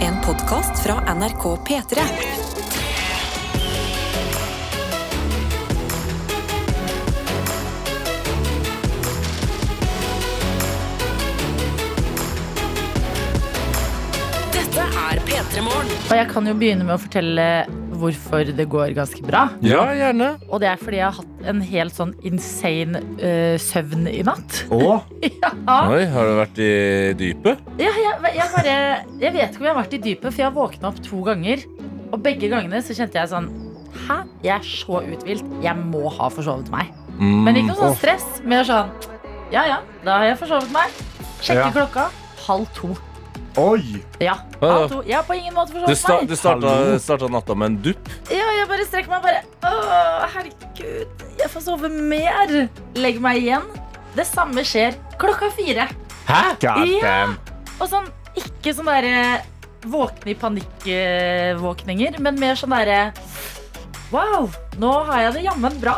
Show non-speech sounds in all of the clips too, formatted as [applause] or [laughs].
En podkast fra NRK P3. Dette er P3 Morgen. Og jeg kan jo begynne med å fortelle hvorfor det går ganske bra. Ja, gjerne. Og det er fordi jeg har hatt en helt sånn insane øh, søvn i natt. Å, Ja, oi, har du vært i dypet? ja jeg, jeg bare Jeg vet ikke om jeg har vært i dypet, for jeg har våkna opp to ganger. Og begge gangene så kjente jeg sånn Hæ? Jeg er så uthvilt. Jeg må ha forsovet meg. Men Mm. ikke Mm, noe sånn stress. Mer sånn Ja ja, da har jeg forsovet meg. Sjekker Ja. klokka. Halv to. Oi! Ja, halv to. Jeg har på ingen måte Du, forsovet sta meg. du starta, Hallo. starta natta med en dupp. Ja, jeg bare strekker meg bare Åh, herregud, jeg får sove mer Legg meg igjen Det samme skjer klokka fire Hæ? God Ja. damn. Og sånn, ikke sånn der eh, Våkne i panikkvåkninger Men mer sånn der eh, Wow, nå har jeg det jammen bra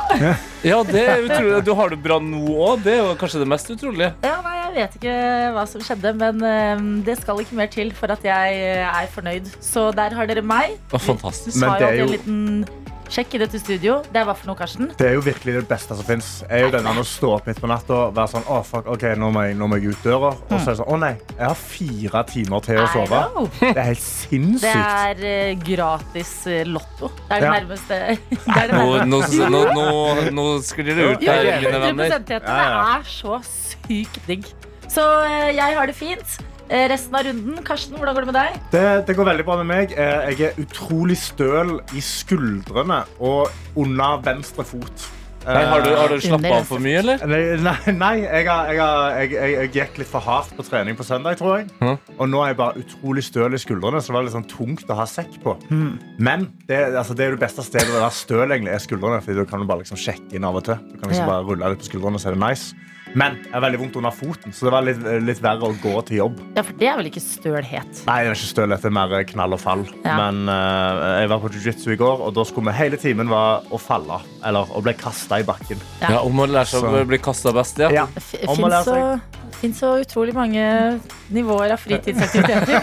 Ja, det er utrolig. Du har det bra nå òg. Det er jo kanskje det mest utrolige. Ja, nei, jeg vet ikke hva som skjedde Men eh, det skal ikke mer til for at jeg eh, er fornøyd Så der har dere meg Å, fantastisk. Så Men har jo det er alltid en liten sjekk i dette studio Det er hva for noe, Karsten Det er jo virkelig det beste som fins. Å stå opp midt på natta og være sånn Å, fuck, OK, nå må jeg, nå må jeg ut døra. Og så er det sånn Å nei, jeg har fire timer til å I sove. know. Det er helt Det sinnssykt. er eh, gratis eh, lotto. Det er det Ja. nærmeste. [laughs] Det er det Nå, nærmeste. nå, nå, nå, nå sklir det ut Jo, her, mine 100 venner. tete. Det Ja, ja. er så sykt digg. Så eh, jeg har det fint. Eh, Resten av runden. Karsten, hvordan går det med deg? Det, det går veldig bra med meg. Eh, Jeg er utrolig støl i skuldrene og under venstre fot. Nei, har du, har du Under slappa av venstre for mye, eller? Nei, nei, nei jeg, har, jeg, har, jeg, jeg, jeg gikk litt for hardt på trening på søndag, tror jeg. Mhm. Og nå er jeg bare utrolig støl i skuldrene, så det var litt sånn tungt å ha sekk på. Hmm. Men det, altså, det er jo det beste stedet å være støl, egentlig, er skuldrene. Fordi du kan jo bare liksom sjekke inn av og til. Du kan liksom Ja. bare rulle litt på skuldrene, så er det nice. Men jeg har veldig vondt under foten, så det var litt, litt verre å gå til jobb. Ja, for det er vel ikke stølhet. Nei, det er ikke støl, det er mer knall og fall. Ja. Men eh, jeg var på jiu-jitsu i går, og da skulle vi hele timen være å falle. Eller å bli kasta i bakken. Ja. Ja, Om å lære seg å Så- bli kasta best, ja. Ja. Det Om å lære fins så, finnes så utrolig mange nivåer av [laughs] fritidsaktiviteter.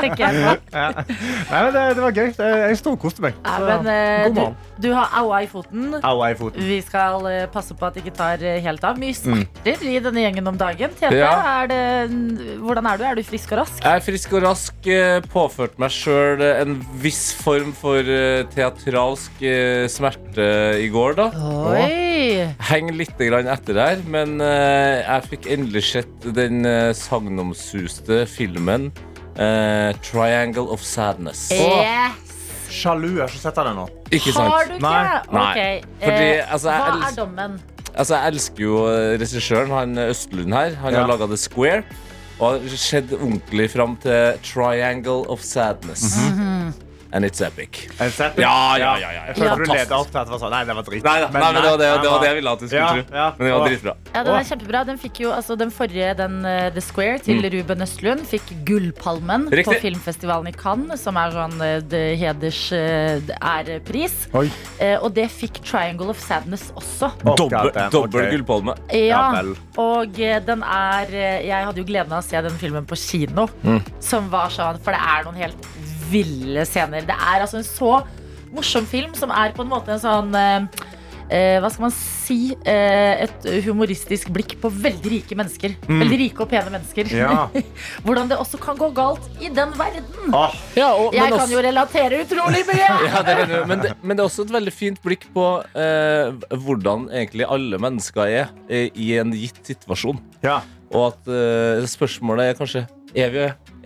tenker jeg på. Ja. Nei, men det, det var gøy. Det- Jeg storkoste meg. Ja, Så, men eh, god du, morgen. du har aua i foten. Aua i foten. Vi skal eh, passe på at det ikke tar eh, helt av. Mye smerter i denne gjengen om dagen. Tete, Mm. Ja. er det, hvordan er du? Er du frisk og rask? Jeg er frisk og rask. eh, Påførte meg sjøl en viss form for eh, teatralsk eh, smerte i går, da. Oi! henger litt grann etter her, men eh, jeg fikk endelig sett den eh, sagnomsuste filmen eh, 'Triangle of Sadness'. Yes! Sjalu. Jeg har ikke sett den ennå. Ikke Har du sant? ikke? Nei. Nei. Ok, Fordi, eh, altså, jeg hva els- er dommen? Altså, jeg elsker jo eh, regissøren, han eh, Østlund her. Han Ja. har laga The Square. Og har sett ordentlig fram til 'Triangle of Sadness'. And it's epic. Jeg har sett den. Ja, ja, ja, ja. Jeg føler Ja. du leda opp til at det var sånn. Nei, det var drit. Nei, da, nei, men det var det, det var det jeg jeg ville at du skulle Ja, tro. ja. Men det var Åh. dritbra. Ja, Den Åh. er kjempebra. Den fikk jo, altså, den forrige, den, eh, The Square, til Ruben Østlund, fikk Gullpalmen på Mm. Riktig. filmfestivalen i Cannes, som er sånn eh, det heders eh, ærepris. Oi. Eh, Og det fikk Triangle of Sadness også. Oh, Dobbel, God damn, dobbel ok. gullpalme. Ja, Ja vel. og eh, den er eh, Jeg hadde jo gleden av å se den filmen på kino. Som var sånn, For det er noen helt ville scener. Det er altså en så morsom film som er på en måte en sånn eh, eh, hva skal man si? Eh, et humoristisk blikk på veldig rike mennesker. Veldig rike og pene mennesker. Ja. [laughs] Hvordan det også kan gå galt i den verden. Åh, Ja, og, men Jeg også- kan jo relatere utrolig mye! [laughs] Ja, det kan du. Men, det, men det er også et veldig fint blikk på eh, hvordan egentlig alle mennesker er eh, i en gitt situasjon. ja. Og at eh, spørsmålet er kanskje Er vi,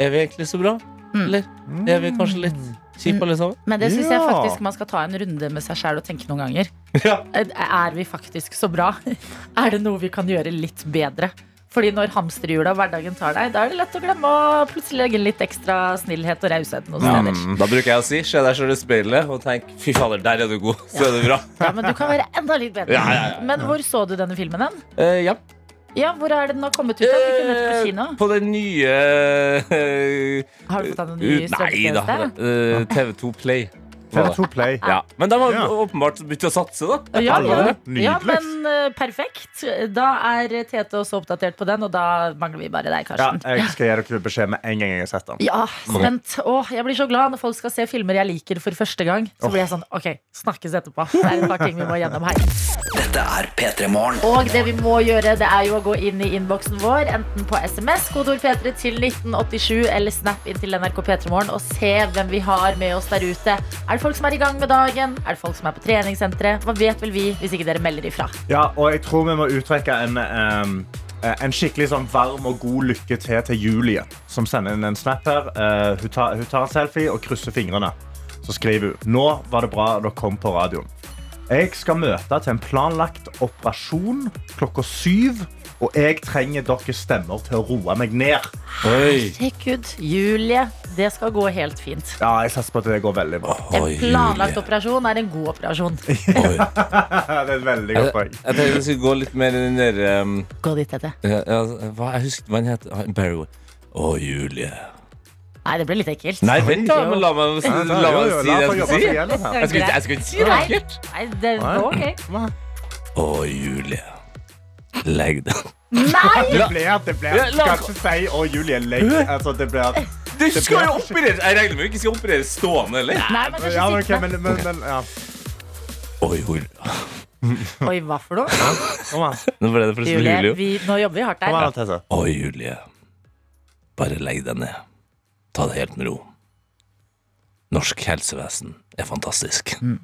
er vi egentlig så bra? Mm. Eller er vi kanskje litt kjipe, alle sammen? Men det syns jeg Ja. faktisk man skal ta en runde med seg sjæl og tenke noen ganger. Ja. Er vi faktisk så bra? [laughs] Er det noe vi kan gjøre litt bedre? Fordi når hamsterhjula og hverdagen tar deg, da er det lett å glemme å plutselig legge inn litt ekstra snillhet og raushet Mm. noen steder. Da bruker jeg å si se deg sjøl i speilet og tenk fy fader, der er du god. Så er det bra. Ja, men du kan være enda litt bedre. Ja, ja, ja. Men hvor så du denne filmen hen? [laughs] Eh, ja. Ja, hvor er det den har kommet ut? da? Vi kunne vært på kino. Eh, på den nye eh, Har du fått deg noen ut- nye Nei da. strømmetjenester? eh, TV2 Play. var det. TV2 Play. Ja. Men de har Ja. åpenbart begynt å satse, da. Ja, ja. Nydelig. ja men eh, perfekt. Da er Tete også oppdatert på den, og da mangler vi bare deg, Ja, Karsten. jeg skal gi dere beskjed med en gang jeg har sett den. Ja, spent. Åh, jeg blir så glad når folk skal se filmer jeg liker for første gang. Så blir jeg sånn, ok, snakkes etterpå. Det er et par ting vi må gjennom her. Dette er P3 Morgen. Og det vi må gjøre, det er jo å gå inn i innboksen vår, enten på SMS, kodord P3 til 1987, eller Snap inn til NRK P3morgen, og se hvem vi har med oss der ute. Er det folk som er i gang med dagen? Er det folk som er på treningssenteret? Hva vet vel vi, hvis ikke dere melder ifra? Ja, og jeg tror vi må uttrekke en, ehm, eh, en skikkelig sånn varm og god lykke til til Julie, som sender inn en snap her. Eh, hun, tar, hun tar en selfie og krysser fingrene. Så skriver hun Nå var det bra dere kom på radioen. Jeg skal møte til en planlagt operasjon klokka syv, og jeg trenger deres stemmer til å roe meg ned. Oi. Herregud, Julie, det skal gå helt fint. Ja, jeg satser på at det går veldig bra. [laughs] En Oi, planlagt Julie. operasjon er en god operasjon. [laughs] Oi. det er et veldig Jeg, godt jeg poeng. tenkte vi skulle gå litt mer i den der um, Gå dit, Tete. ja, ja, hva, Jeg husker hva han het. Han- Barry White. Å, Julie. Nei, det blir litt ekkelt. Nei, vent, da. Men la meg, Ja, la jo, meg jo, si det jeg folk skal jobbe si. seg gjennom her. Jeg skulle ikke, jeg skulle ikke si det. Nei. sikkert. Nei, det var ok. Å, Julie. Legg deg. Nei! Det blir, det blir. Ja, la- Skal ikke si 'Å, Julie, legg'. Altså, det blir Du skal jo operere! Jeg regner med du ikke skal operere stående, eller? Nei, men kanskje Ja, men, ok, sittende. men, men, men ja. Oi, Julie. Oi, hva [laughs] for noe? Kom an. Nå ble det plutselig Julie, Julio. vi, nå jobber vi hardt Kom her. an, Tessa. Å, Julie. Bare legg deg ned. Ta det helt med ro. Norsk helsevesen er fantastisk. Mm.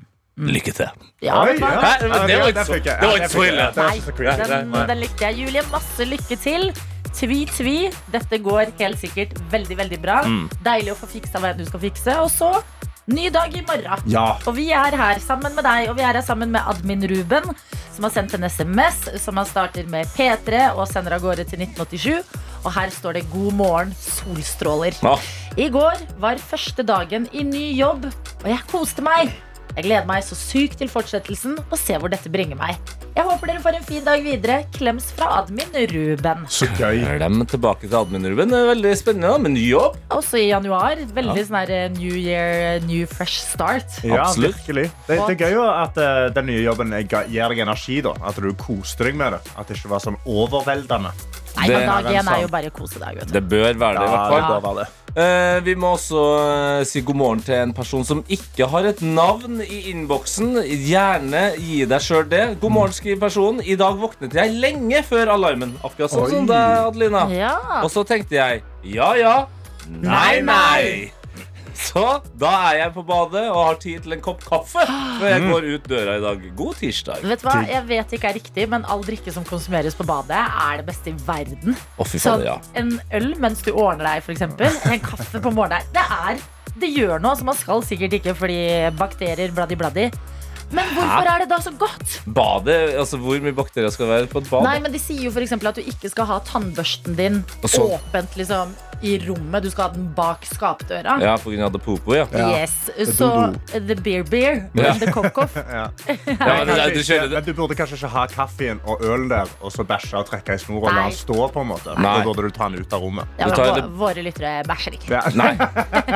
Lykke til. Ja, vet du hva? Hæ? Det var- det var ikke der så- fikk jeg. det var Ja, ikke der fikk så ille. jeg. Det var ikke så Nei, creepy. Den, nei, nei. den likte jeg. Julie, masse lykke til. Tvi, tvi. Dette går helt sikkert veldig veldig bra. Mm. Deilig å få fiksa hva enn du skal fikse. Og så ny dag i morgen. Ja. Og vi er her sammen med deg, og vi er her sammen med admin Ruben, som har sendt en SMS som han starter med P3 og sender av gårde til 1987. Og her står det 'God morgen, solstråler'. Ja. I går var første dagen i ny jobb, og jeg koste meg. Jeg gleder meg så sykt til fortsettelsen og se hvor dette bringer meg. Jeg håper dere får en fin dag videre. Klems fra admin Ruben. Så gøy. Klem tilbake til admin-Ruben. Det er Veldig spennende da, med ny jobb. Også i januar. Veldig sånn her eh, new year, new fresh start. Ja, Absolutt. virkelig. Det, det er gøy jo at eh, den nye jobben eh, ga- gir deg energi. da. At du koste deg med det. At det ikke var sånn overveldende. Nei, Det men dag er en én er sang. jo bare kosedag, vet du. Det bør være det, i hvert fall. det bør være det. Eh, vi må også eh, si god morgen til en person som ikke har et navn i innboksen. Gjerne gi deg sjøl det. God morgen, skriver personen. I dag våknet jeg lenge før alarmen. Akkurat sånn Oi. som deg, Adelina. Ja. Og så tenkte jeg ja, ja. Nei, nei. Så da er jeg på badet og har tid til en kopp kaffe før jeg går ut døra i dag. God tirsdag. Vet du hva? Jeg vet det ikke er riktig, men all drikke som konsumeres på badet, er det beste i verden. Å, fy Sånn, fader, ja. en øl mens du ordner deg, for eksempel. En kaffe på morgenen. Det er Det gjør noe, så man skal sikkert ikke fordi bakterier, bladdi, bladdi. Men hvorfor er det da så godt? Badet, altså Hvor mye bakterier skal det være på et bad? Nei, men De sier jo for eksempel at du ikke skal ha tannbørsten din Og så- åpent liksom, i rommet. Du skal ha den bak skapdøra. Ja, på grunn av det popo, ja. Ja. Yes, Så eh, the beer beer Ja. and the cock-off. [laughs] ja men, det- du Kanskje kjører ikke- det. Men du burde kanskje ikke ha kaffen og ølen der og så bæsje og trekke i snor og Nei. la den stå. på en måte. Nei. Da burde du ta den ut av rommet. Ja, Du men tar vå- det- Våre lyttere bæsjer ikke. Ja. Nei.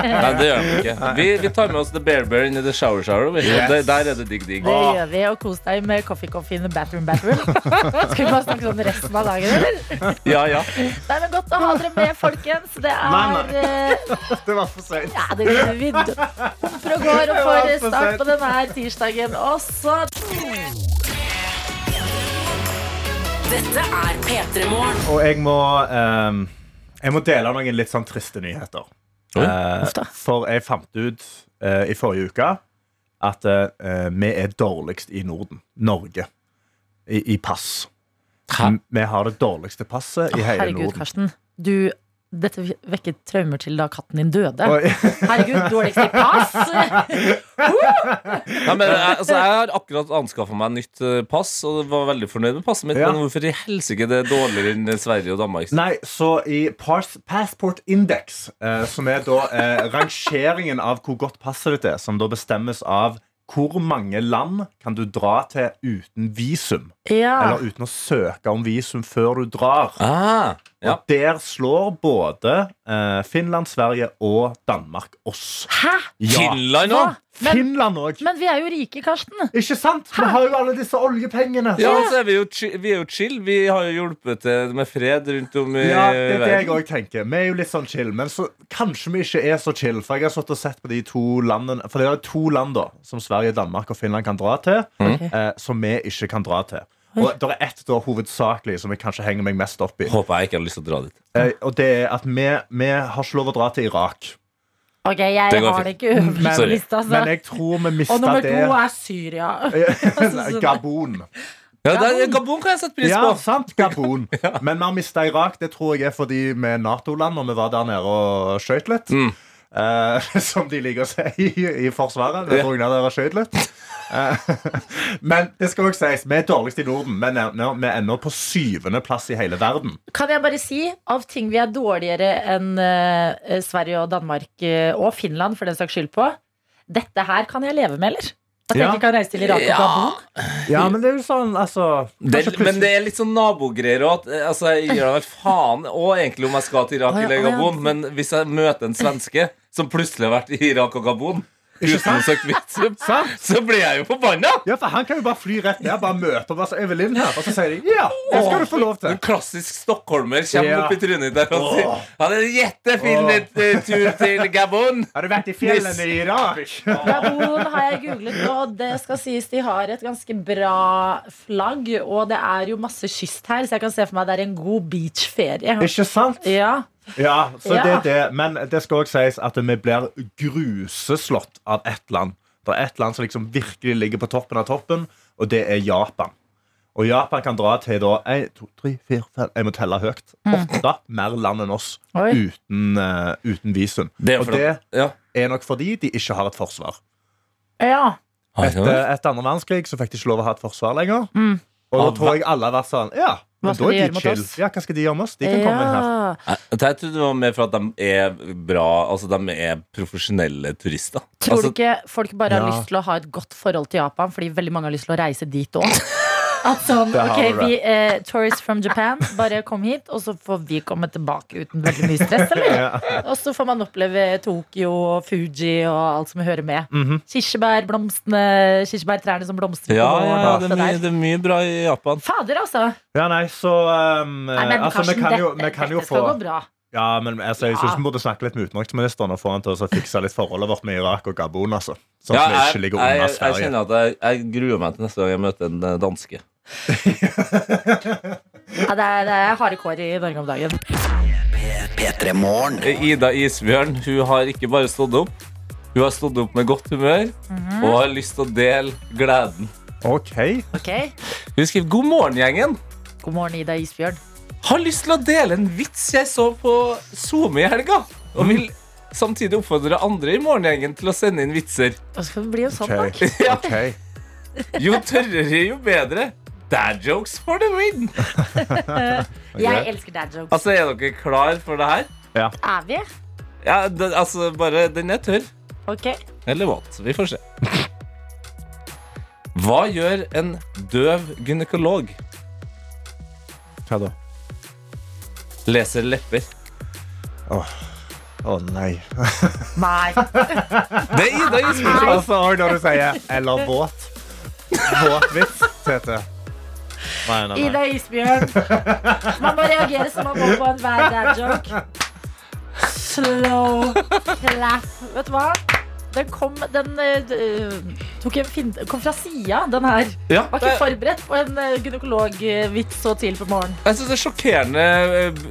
Nei, det gjør vi ikke. Vi, vi tar med oss The Bear Bear inn i The Shower Shower. vi. Yes. Der, der er det digg digg. Det Ah. gjør vi. Og kos deg med coffee coffee in the bathroom bathroom. [laughs] Skal vi bare snakke sånn resten av dagen, eller? Ja, ja. Nei, men Godt å ha dere med, folkens. Det er Nei, eh, Det var for seint. ja, det er vi humper og går og får Det var for start sent. på denne her tirsdagen også. Dette er P3 Morgen. Og jeg må, ehm, jeg må dele noen litt sånn triste nyheter. Oi, Eh, for jeg fant ut eh, i forrige uke at eh, vi er dårligst i Norden. Norge. I, i pass. Hæ? Vi har det dårligste passet i hele Herregud, Norden. Karsten. Du, dette vekket traumer til da katten din døde. Og, [laughs] Herregud, dårligst i [laughs] pass! Nei, men, jeg- altså, jeg har akkurat anskaffa meg nytt eh, pass og var veldig fornøyd med passet mitt. Ja. Men hvorfor i helsike det er dårligere enn Sverige og Danmark? nei, så i pass, Passport Index, eh, som er da eh, rangeringen av hvor godt passet ditt er, som da bestemmes av hvor mange land kan du dra til uten visum. Ja. Eller uten å søke om visum før du drar. Ah, ja. Og der slår både eh, Finland, Sverige og Danmark oss. Hæ? Ja. Finland Hva? òg! Men, Finland òg! men vi er jo rike, Karsten. Ikke sant? Vi har jo alle disse oljepengene. Ja, så er vi, jo chi- vi er jo chill. Vi har jo hjulpet til med fred rundt om i Ja, det er det jeg verden. òg tenker. Vi er jo litt sånn chill, men så, kanskje vi ikke er så chill. For jeg har satt og sett på de to landene For det er to land da som Sverige, Danmark og Finland kan dra til, Mhm. eh, som vi ikke kan dra til. Og det er ett da hovedsakelig som jeg kanskje henger meg mest opp i. Håper jeg ikke har lyst til å dra dit. Eh, og det er at vi, vi har ikke lov å dra til Irak. Ok, jeg Det går har det fint. ikke øverst på Sorry. lista. Men Altså. jeg tror vi Og mista nummer det. [laughs] to er Syria. Nei, Gabon. Ja, der, Gabon kan jeg sette pris Ja, på. sant, Gabon. [laughs] Men vi har mista Irak. Det tror jeg er fordi vi er Nato-land, og vi var der nede og skøyt litt. Mm. Eh, [laughs] som de liker å si i, i Forsvaret. Det tror jeg der dere skjøt litt. Eh, [laughs] men det skal også sies, vi er dårligst i Norden, men er- nå- vi ender på syvende plass i hele verden. Kan jeg bare si, av ting vi er dårligere enn eh, Sverige og Danmark, eh, og Finland for den saks skyld på, dette her kan jeg leve med, eller? At jeg Ja. ikke kan reise til Irak og Ja. Gabon? Ja, men det er jo sånn, altså Det, men det er litt sånn nabogreier òg. Altså, jeg gir da vel faen òg, egentlig, om jeg skal til Irak Å, ja, eller å, ja. Gabon, men hvis jeg møter en svenske som plutselig har vært i Irak og Gabon uten å søke visum, Sant? så blir jeg jo forbanna! Ja, for Han kan jo bare fly rett ned, bare møte opp altså, Evelyn her, og så sier de ja, det skal du få lov til. En klassisk stockholmer kommer Ja. opp i trynet der og sier Åh. Han er jättefin Åh. litt, eh, tur til Gabon. Har du vært i fjellene i Irak? Gabon har jeg googlet nå, og det skal sies de har et ganske bra flagg. Og det er jo masse kyst her, så jeg kan se for meg det er en god beachferie. Ikke sant? Ja. Ja, så Ja. det er det. Men det skal også sies at vi blir gruseslått av ett land. Det er ett land som liksom virkelig ligger på toppen av toppen, og det er Japan. Og Japan kan dra til da en, to, tre, fire, fem, Jeg må telle høyt. Åtte mer land enn oss Mm. Oi. uten, eh, uten visum. Det er og for det at- ja. er nok fordi de ikke har et forsvar. ja. Etter, etter andre verdenskrig så fikk de ikke lov å ha et forsvar lenger. Og da Ah, tror jeg alle har vært sånn Ja, men Mm. skal da de er gjøre de mot chill. oss? Ja, hva skal de gjøre med oss? De kan komme inn her. ja. Jeg trodde det var mer for at de er bra Altså, de er profesjonelle turister. Tror altså, du ikke folk bare har Ja. lyst til å ha et godt forhold til Japan fordi veldig mange har lyst til å reise dit òg? [laughs] At sånn, Det har ok, du vi eh, Tourists from Japan, bare kom hit, og så får vi komme tilbake uten veldig mye stress, eller? Og så får man oppleve Tokyo og Fuji og alt som hører med. Mhm. Kirsebærblomstene, kirsebærtrærne som blomstrer ja, på våren ja, og alt det er, det mye, der. det er mye bra i Japan. Fader, altså! Ja, nei, så um, men altså, Karsten, vi kan jo, dette- vi kan jo dette skal få gå bra. Ja, men altså, jeg synes vi burde snakke litt med utenriksministeren og få han til å fikse litt forholdet vårt med Irak og Gabon, altså. Sånn at vi Ja, ikke jeg, jeg, ligger unna jeg, Sverige. kjenner at jeg, jeg gruer meg til neste gang jeg møter en eh, danske. Ja, det, er, det er harde kår i Norge om dagen. P3 Morgen. Ida Isbjørn hun har ikke bare stått opp. Hun har stått opp med godt humør og har lyst til å dele gleden. OK. Ok, Hun skriver 'God morgen, gjengen'. God morgen, Ida Isbjørn. Har lyst til å dele en vits jeg så på SoMe i helga. Og vil samtidig oppfordre andre i morgengjengen til å sende inn vitser. [laughs] Og så blir det jo sånn, da. ok, ok Jo tørrere, jo bedre. Dad jokes for the win. Jeg elsker dad jokes. Altså, Er dere klar for det her? Er vi? Ja, det, altså, bare Den er tørr. Ok. Eller våt. Vi får se. Hva gjør en døv gynekolog? Hva da? Leser lepper. Å nei. Nei. Det er Ida Isbjørn. Altså, og når du sier 'eller våt'. Våtvits, Tete. Nei, nei, nei. Ida Isbjørn. Man må reagere som man må på enhver dad joke. Slow clap. Vet du hva? Den kom Den eh, d- eh, tok en fin kom fra sida, den her. Ja, Var ikke forberedt på en eh, gynekologvits så tidlig på morgenen. Jeg syns det er sjokkerende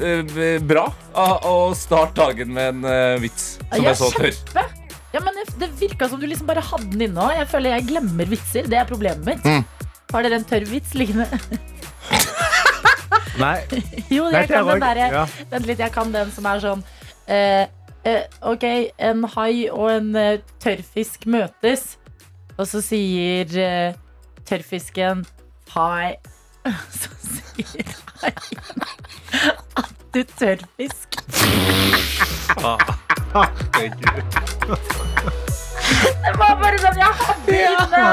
eh, b- eh, bra å- å starte dagen med en eh, vits som Ja, er så tørr. kjempe. Ja, men det- Det virka som du liksom bare hadde den inne òg. Jeg føler jeg glemmer vitser. Det er problemet mitt. Har dere en tørr vits liggende? nei. Jo, Nei, jeg kan den eh, det var- derre ja. [laughs] Vent litt, jeg kan den som er sånn eh, eh, Ok, en hai og en eh, tørrfisk møtes Og så sier eh, tørrfisken Hai [laughs] Så sier haien At du tørrfisk Herregud. Det Jeg var bare sånn, jeg hadde Ida!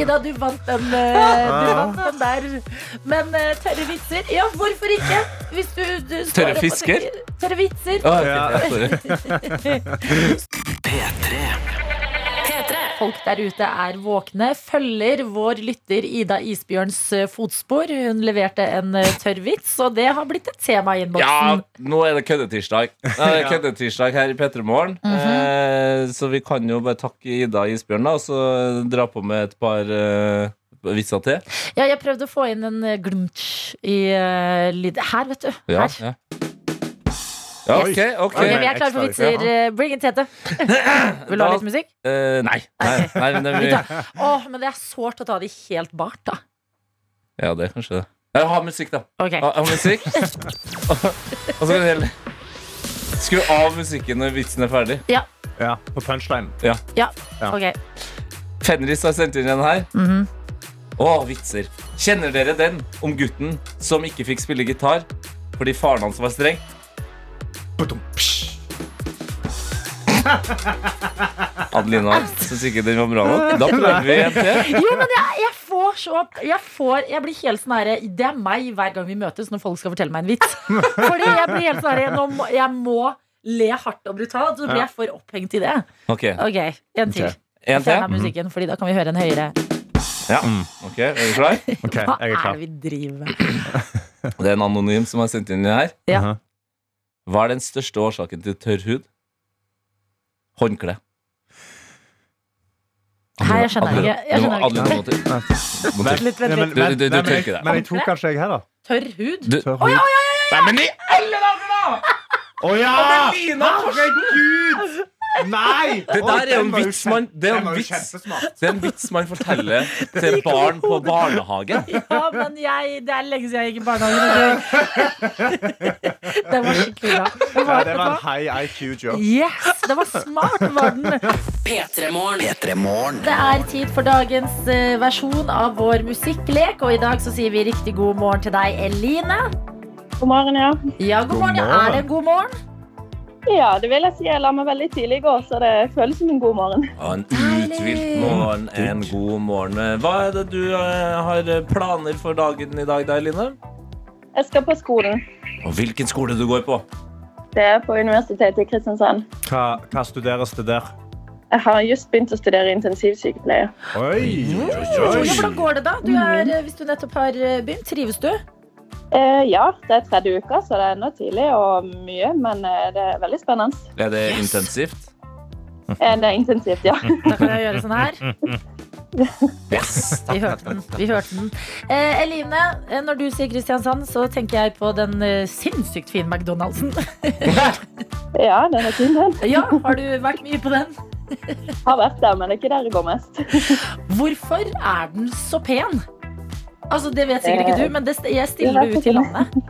Ida, du vant den, eh, du vant den der. Men eh, tørre vitser, ja, hvorfor ikke? Hvis du, du står Tørre opp og fisker? tenker- Tørre vitser. Ah, ok, Ja. ja, sorry. P3. Folk der ute er våkne, følger vår lytter Ida Isbjørns eh, fotspor. Hun leverte en eh, tørr vits, og det har blitt et tema i Ja, innboksen. nå er det køddetirsdag. Nå er det køddetirsdag her i Petremorgen. eh, så vi kan jo bare takke Ida Isbjørn, da, og så dra på med et par eh, vitser til. Ja. jeg prøvde å få inn en eh, glumtsj i eh, lyd... Her, vet du. Ja, Her. ja. ja OK. ok Ok, Oi. vi er klare for Ekstra, vitser. Eh, Bring it, Tete. Vil du ha litt musikk? Eh, nei. nei, nei, men det [laughs] Vi blir- tar- Åh, men det er sårt å ta de helt bart, da. Ja, det er kanskje det. Ja, ha musikk, da. Ok. Ha, ha [laughs] musikk. og så kan du heller Skru av musikken når vitsen er ferdig. Ja, på punchline. Ja, Ja. ok. Fenris har sendt inn en her. Mhm. Å, vitser. Kjenner dere den om gutten som ikke fikk spille gitar fordi faren hans var streng? [laughs] Adelina [laughs] syns ikke den var bra nok. Da prøver vi en til. Jo, men jeg, jeg får så jeg, får, jeg blir helt sånn herre Det er meg hver gang vi møtes når folk skal fortelle meg en vits. Fordi jeg blir helt sånn herre nå må- Jeg må le hardt og brutalt, så blir jeg for opphengt i det. Ok, Ok, en til. Ok. En Fjern av til. musikken, fordi da kan vi høre en høyere. Ja. Ok, Er du klar? Ok, Hva jeg er er klar. det vi driver med? Det er en anonym som har sendt inn det her. Ja. Mhm. Hva er den største årsaken til tørr hud? Håndkle. Nei, jeg skjønner ikke. Jeg Du må- skjønner Adelina ikke. må til- må til. Litt, vent Nei, men- litt. Du- du- du nei, men jeg- tørker deg. Men jeg tror kanskje jeg er her, da. Tørr hud? Du, Tør hud. Nei, men i alle dager, da! Å ja! Herregud! Nei! Det der er jo en vits man Det er Den en var jo vits kjempesmart. Det er en vits man [laughs] forteller til barn på barnehagen. Ja, men jeg, det er lenge siden jeg gikk i barnehagen. og [laughs] det- Den var skikkelig bra. Den Ja, var- det var en high IQ joke. Yes, det var smart, var den. P3-morgen. P3-morgen. Det er tid for dagens eh, versjon av vår musikklek, og i dag så sier vi riktig god morgen til deg, Eline. God morgen, ja. Ja, god, God morgen. Er morgen. det god morgen? Ja, det vil jeg si. Jeg la meg veldig tidlig i går, så det føles som en god morgen. Og en uthvilt morgen, en god morgen. Hva er det du eh, har planer for dagen i dag, da, Eline? Jeg skal på skolen. Og hvilken skole du går på? Det er på Universitetet i Kristiansand. Hva, hva studeres det der? Jeg har just begynt å studere intensivsykepleie. Oi! Ja, Hvordan går det, da? Du er, eh, hvis du nettopp har eh, begynt, trives du? Eh, ja, det er tredje uka, så det er ennå tidlig og mye, men eh, det er veldig spennende. Er det intensivt? Eh, det er intensivt, ja. Da kan jeg gjøre sånn her. Yes! Vi hørte den. Vi hørte den. Eh, Eline, eh, når du sier Kristiansand, så tenker jeg på den eh, sinnssykt fine McDonald'sen. Ja, den er fin, den. Ja, har du vært mye på den? Har vært der, men det er ikke der det går mest. Hvorfor er den så pen? Altså, Det vet sikkert ikke du, men det, jeg stiller Det det vet ut i ikke. landet.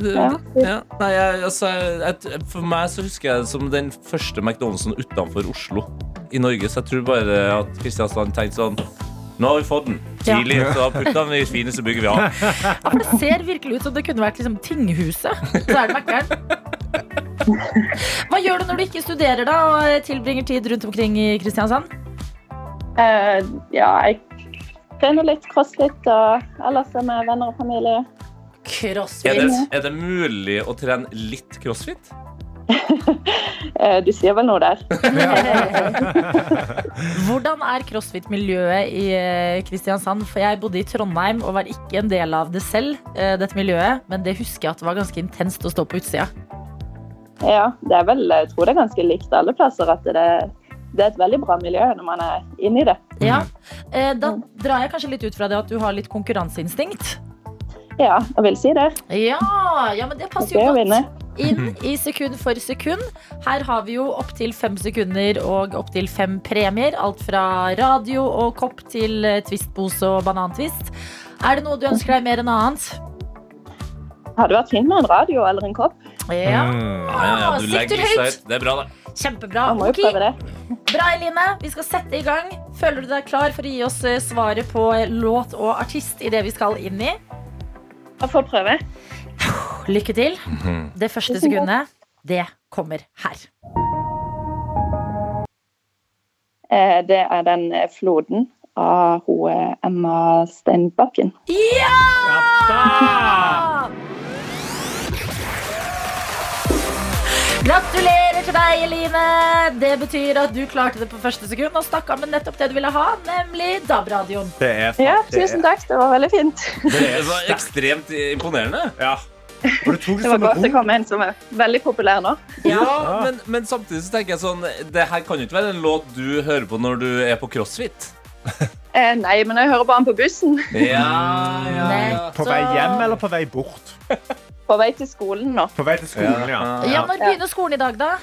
Ja. Ja, nei, jeg, altså, jeg, for meg så husker jeg det som den første McDonald'sen utenfor Oslo i Norge. Så jeg tror bare at Kristiansand tenkte sånn Nå har vi fått den. Ja. Tidlig. Så putt den i det fineste bygget vi har. Ja, for Det ser virkelig ut som det kunne vært liksom, tinghuset. Så er det Mækkern. Hva gjør du når du ikke studerer da og eh, tilbringer tid rundt omkring i Kristiansand? Eh, ja, jeg trener litt crossfit, og ellers er jeg med venner og familie. Er Crossfit. det, er det mulig å trene litt crossfit? Eh, du sier vel noe der? [laughs] Hvordan er crossfit-miljøet i eh, Kristiansand? For jeg bodde i Trondheim og var ikke en del av det selv, eh, dette miljøet. Men det husker jeg at det var ganske intenst å stå på utsida. Ja, det er vel, jeg tror det er ganske likt alle plasser at det, det er et veldig bra miljø når man er inne i det. Ja. Mm. Eh, Da drar jeg kanskje litt ut fra det at du har litt konkurranseinstinkt. Ja, jeg vil si det. Ja, ja men det Det passer er Mm-hmm. jo godt. jo vinne. inn i sekund for sekund. Her har vi jo opptil fem sekunder og opptil fem premier. Alt fra radio og kopp til eh, twistpose og banantvist. Er det noe du ønsker deg mer enn annet? Hadde vært fint med en radio eller en kopp. Ja, Mm. Mm, Ja, ja, ja, du Sikter legger høyt. seg ut. Det er bra, det. kjempebra. Man må jo Ok, prøve det. Bra, Eline. Vi skal sette i gang. Føler du deg klar for å gi oss eh, svaret på eh, låt og artist i det vi skal inn i? Jeg får prøve. Lykke til. Det første Tusen takk. sekundet, det kommer her. Eh, Det er den eh, floden av hun eh, Emma Steinbakken. Gratulerer til deg, Eline! Det betyr at du klarte det på første sekund og stakk av med nettopp det du ville ha, nemlig DAB-radioen. Det er Ja, det er- tusen takk. Det var veldig fint. Det var ekstremt imponerende. Ja. Og du tok det Det som var en godt det ro. kom en som er veldig populær nå. Ja, men, men samtidig så tenker jeg sånn Det her kan jo ikke være en låt du hører på når du er på crossfit. Eh, Nei, men jeg hører på han på bussen Ja, ja, På vei hjem eller på vei bort? på vei til skolen nå. På vei til skolen, ja. Ja, Når begynner skolen i dag, da?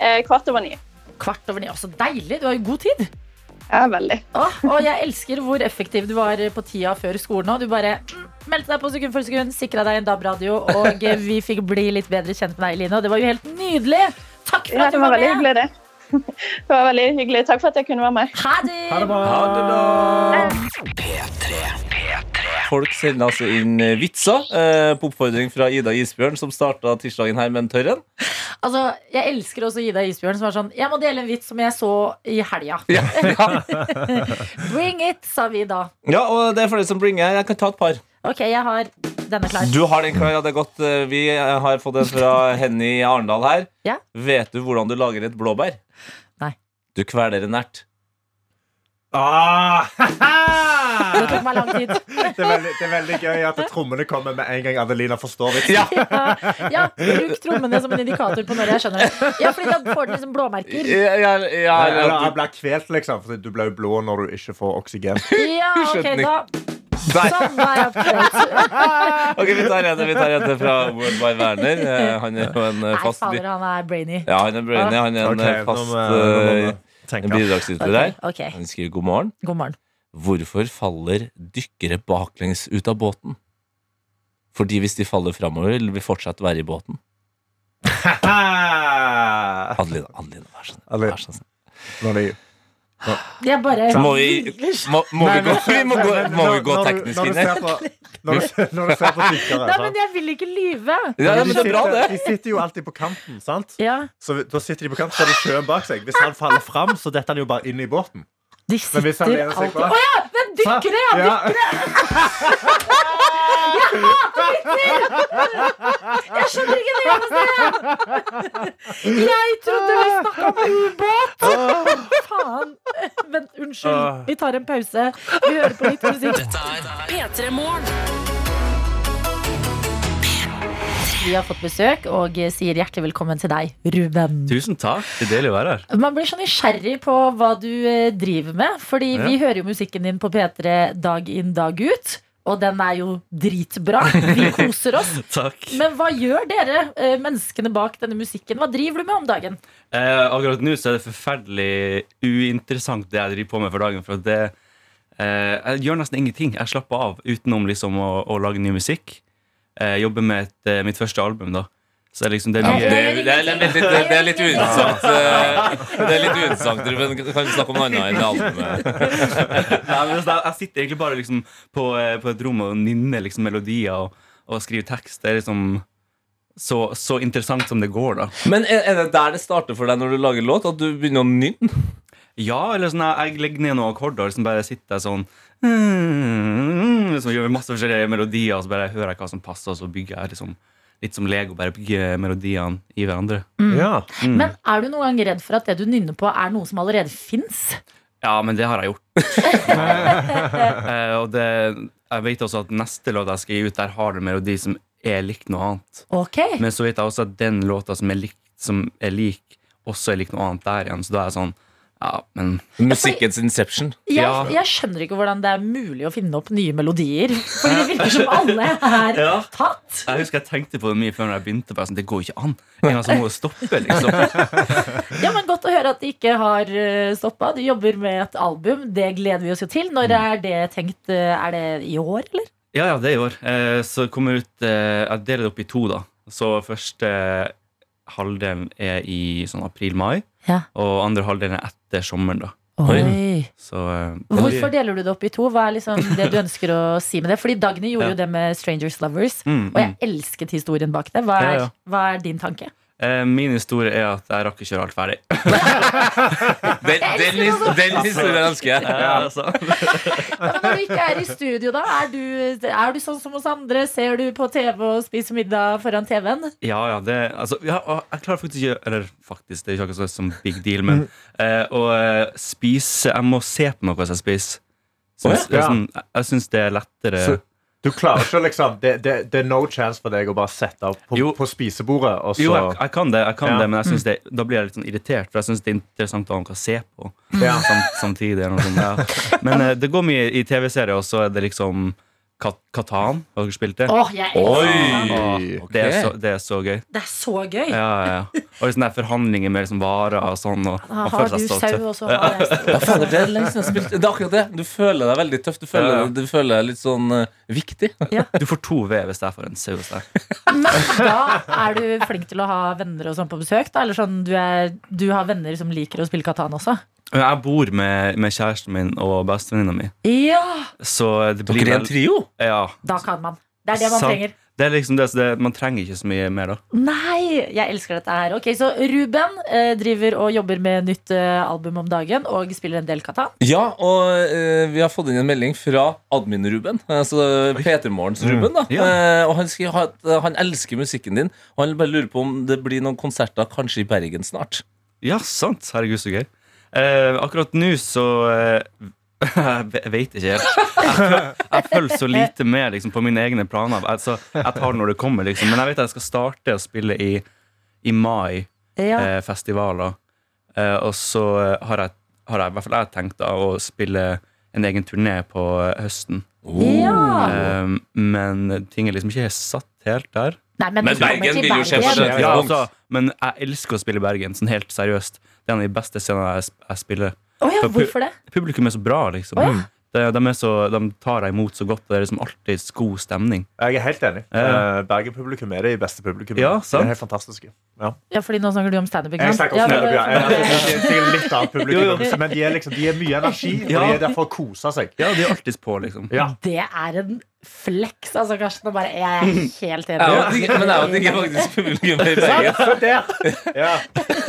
Eh, Kvart over ni. Kvart over ni. Også deilig! Du har jo god tid. Ja, veldig. Åh, og jeg elsker hvor effektiv du var på tida før skolen òg. Du bare mm, meldte deg på sekund for sekund, sikra deg en DAB-radio, [laughs] og eh, vi fikk bli litt bedre kjent med deg, Eline. Og det var jo helt nydelig! Takk for Ja, at det du var var veldig med. hyggelig, det. [laughs] Det var veldig hyggelig. Takk for at jeg kunne være med. Ha det! Ha det bra. Folk sender altså inn vitser eh, på oppfordring fra Ida Isbjørn, som starta tirsdagen her med en tørr en. Altså, jeg elsker også Ida Isbjørn, som var sånn Jeg må dele en vits som jeg så i helga. Bring it, sa vi da. [laughs] Ja, og det er for det som bringer Jeg kan ta et par. Ok, jeg har denne klar. Du har den klar, ja, det er godt. Eh, Vi har fått en fra Henny i Arendal her. Ja. Vet du hvordan du lager et blåbær? Nei. Du kveler en ert. Ah, haha! Det tok meg lang tid. det, er veldig, det er veldig gøy at trommene kommer med en gang Adelina forstår vitsen. Ja. Ja, Bruk trommene som en indikator på når jeg skjønner det. Ja, fordi da får den liksom blåmerker. Ja, ja, ja, Eller ja, eller han du- blir kvelt, liksom. Fordi du blir jo blå når du ikke får oksygen. Ja, ok, da. Skjønner. Nei. Sånn er jeg oppdratt. Ok, vi tar en, vi tar en til [laughs] fra World by Werner. Eh, Han er jo en eh, Nei, fast by- fader, han er brainy. Ja, han er brainy. Han er en Ok, eh, nå må- fast nå må eh, vi tenke. [laughs] bidragsyter der. Ok, ok. Han skriver god morgen. God morgen. Hvorfor faller dykkere baklengs ut av båten? Fordi hvis de faller framover, vil vi fortsatt være i båten. Ah! Adeline, Adeline, vær så snill. Adeline. Vær så snill. Når de- Jeg bare Må vi, må, må vi gå, vi må gå, Men- men- må vi gå når du- teknisk når du inn ser her? på- Når du ser- når du ser på Nei, dykkere sant? men jeg vil ikke lyve. Ja, ja, men det er bra, det. De sitter jo alltid på kanten, sant? Ja, Så vi- da sitter de på kanten, så har de sjøen bak seg. Hvis han faller fram, så detter han jo bare inn i båten. De Men hvis han sitter lener seg alltid bak Å ja, men dykkere, ja! ja. Jeg skjønner ikke det eneste! Jeg trodde Ah. vi snakka om ubåt! Faen. [laughs] Vent, Ah. unnskyld. Vi tar en pause. Vi hører på litt musikk. P3 Morgen. Vi har fått besøk og sier hjertelig velkommen til deg, Ruben. Tusen takk. Det er deilig å være her. Man blir så nysgjerrig på hva du eh, driver med. Fordi vi hører jo musikken din på P3 dag inn, dag ut. Og den er jo dritbra. [laughs] Vi koser oss. Takk. Men hva gjør dere, eh, menneskene bak denne musikken? Hva driver du med om dagen? Eh, akkurat nå så er det forferdelig uinteressant det jeg driver på med for dagen. For det, eh, jeg gjør nesten ingenting. Jeg slapper av utenom liksom å, å lage ny musikk. Eh, jobber med et, eh, mitt første album, da. Så det er liksom det er Ja, mye Det er, det er litt, det er litt uinteressant. eh, Det er litt uinteressant, Ruben. Kan vi snakke om noe annet enn albumet? [laughs] Nei, men altså, jeg, jeg sitter egentlig bare liksom på, eh, på et rom og nynner liksom melodier og, og skriver tekst. Det er liksom så, så interessant som det går, da. Men er er det der det starter for deg når du lager låt? At du begynner å nynne? Ja, eller sånn jeg, jeg legger ned noen akkorder og liksom bare sitter jeg sånn liksom, Gjør masse forskjellige melodier, og så bare hører jeg hva som passer, og så bygger jeg liksom litt som Lego, bare bygger melodiene i hverandre. Ja. Mm. Men er du noen gang redd for at det du nynner på, er noe som allerede fins? Ja, men det har jeg gjort. Eh, og det, jeg vet også at neste låt jeg skal gi ut, der har det en melodi som er likt noe annet. Ok. Men så vet jeg også at den låta som er lik, som er lik også er lik noe annet der igjen, så da er jeg sånn ja, men Musikkens inception. Ja. Jeg, jeg skjønner ikke hvordan det er mulig å finne opp nye melodier. Fordi det virker som alle er [laughs] Ja. tatt. Jeg husker jeg tenkte på det mye før når jeg begynte. Bare sånn, det går ikke an. En gang så må det stoppe, liksom. Ja, men Godt å høre at de ikke har stoppa. De jobber med et album. Det gleder vi oss jo til. Mm. Når er det tenkt? eh, Er det i år, eller? Ja, ja, det er i år. Eh, så kommer ut eh, Jeg deler det opp i to, da. Så første halvdelen er i sånn april-mai, Ja. og andre halvdelen er etter sommeren, da. Så eh, det Hvorfor blir- deler du det opp i to? Hva er liksom det du ønsker å si med det? Fordi Dagny gjorde Ja. jo det med Strangers Lovers. Mm, Og jeg mm. elsket historien bak det. Hva Ja, er, ja. hva er din tanke? Eh, Min historie er at jeg rakk ikke å gjøre alt ferdig. [laughs] Den, den, his- den historien ønsker jeg. Eh, så- Ja, men når du ikke er i studio, da, er du, er du sånn som oss andre? Ser du på TV og spiser middag foran TV-en? Ja, ja, det, altså, ja, og jeg klarer faktisk ikke Eller faktisk, det er ikke akkurat sånn som big deal, Mm. men eh, å eh, spise Jeg må se på meg hva jeg spiser. Syns, Å, ja. jeg, sånn, jeg- jeg syns det er lettere Så- Du klarer ikke liksom det, det, det er no chance for deg å bare sette opp på, Jo. på spisebordet, og så Jo, jeg, jeg kan det, jeg kan Ja. det men Mm. jeg synes det, da blir jeg litt sånn irritert, for jeg syns det er interessant å ha noe å se på Mm. Ja. sam, samtidig. Eller noe sånt, ja. Men eh, det går mye i TV-serier, og så er det liksom Kat Katan. Har dere spilt det? Åh, jeg elsker Oi! det. Åh, det, er så, det er så gøy. Det er så gøy. Ja, ja, ja. Og sånne der forhandlinger med liksom varer og sånn. Og, Har man føler du seg så sau, tøff. og så har jeg sau. Ja, fader, det er lenge siden jeg har spilt Det er akkurat det. Du føler deg veldig tøff. Du føler, Ja, ja. du føler deg litt sånn eh, viktig. Du får to V hvis jeg får en saus der. Men da er du flink til å ha venner og sånn på besøk? Da? Eller sånn, du, er, du har venner som liker å spille katan også? Jeg bor med, med kjæresten min og bestevenninna mi, Ja! så det blir Dere er en vel- trio. ja. Da kan man. Det er det man Sant. trenger. Det er liksom det, så det, man trenger ikke så mye mer, da. Nei! Jeg elsker dette her. Ok, Så Ruben eh, driver og jobber med nytt eh, album om dagen og spiller en del katan. Ja, og eh, vi har fått inn en melding fra admin-Ruben. Altså P3morgens-Ruben. da Ja. Eh, Og han, skriver at eh, han elsker musikken din, og han bare lurer på om det blir noen konserter kanskje i Bergen snart. Ja, sant. Herregud, så gøy. Eh, akkurat nå så eh, [laughs] Jeg ve- vet ikke helt. Jeg, føl- jeg følger så lite med liksom, på mine egne planer. Altså, jeg tar det når det kommer, liksom. Men jeg vet at jeg skal starte å spille i, i mai. Ja. eh, festivaler. Eh, og så eh, har jeg, har jeg, i hvert fall jeg tenkt da, å spille en egen turné på eh, høsten. oh. Ja. Eh, men ting er liksom ikke helt satt helt der. Nei, men, Men du kommer Bergen til vil jo skje på Bergen. skjønt. Ja, altså, men jeg elsker å spille i Bergen, sånn helt seriøst. Det er en av de beste scenene jeg, sp- jeg spiller. Å ja, For pu- hvorfor det? Publikum er så bra, liksom. Å, ja. de, de, er så, de tar deg imot så godt, og det er liksom alltid god stemning. Jeg er helt enig. Ja. Eh, Bergen-publikum er det beste publikummet. Ja, det sant. er helt fantastiske. Ja. Ja, fordi nå snakker du om standup, ikke Jeg sant? snakker Ja, også med deg, Bjørn. Jeg- men- jeg- jeg- jeg- jeg er litt annet Jo, publikum, men de er, liksom, de er mye energi, og de er der for å kose seg. Ja, de er alltid på, liksom. Ja. Det er en fleks, altså, Karsten. Og bare, jeg er helt enig. Jeg vet ikke- Men jeg vet ikke faktisk publikum i Bergen. [laughs] Så der. Ja.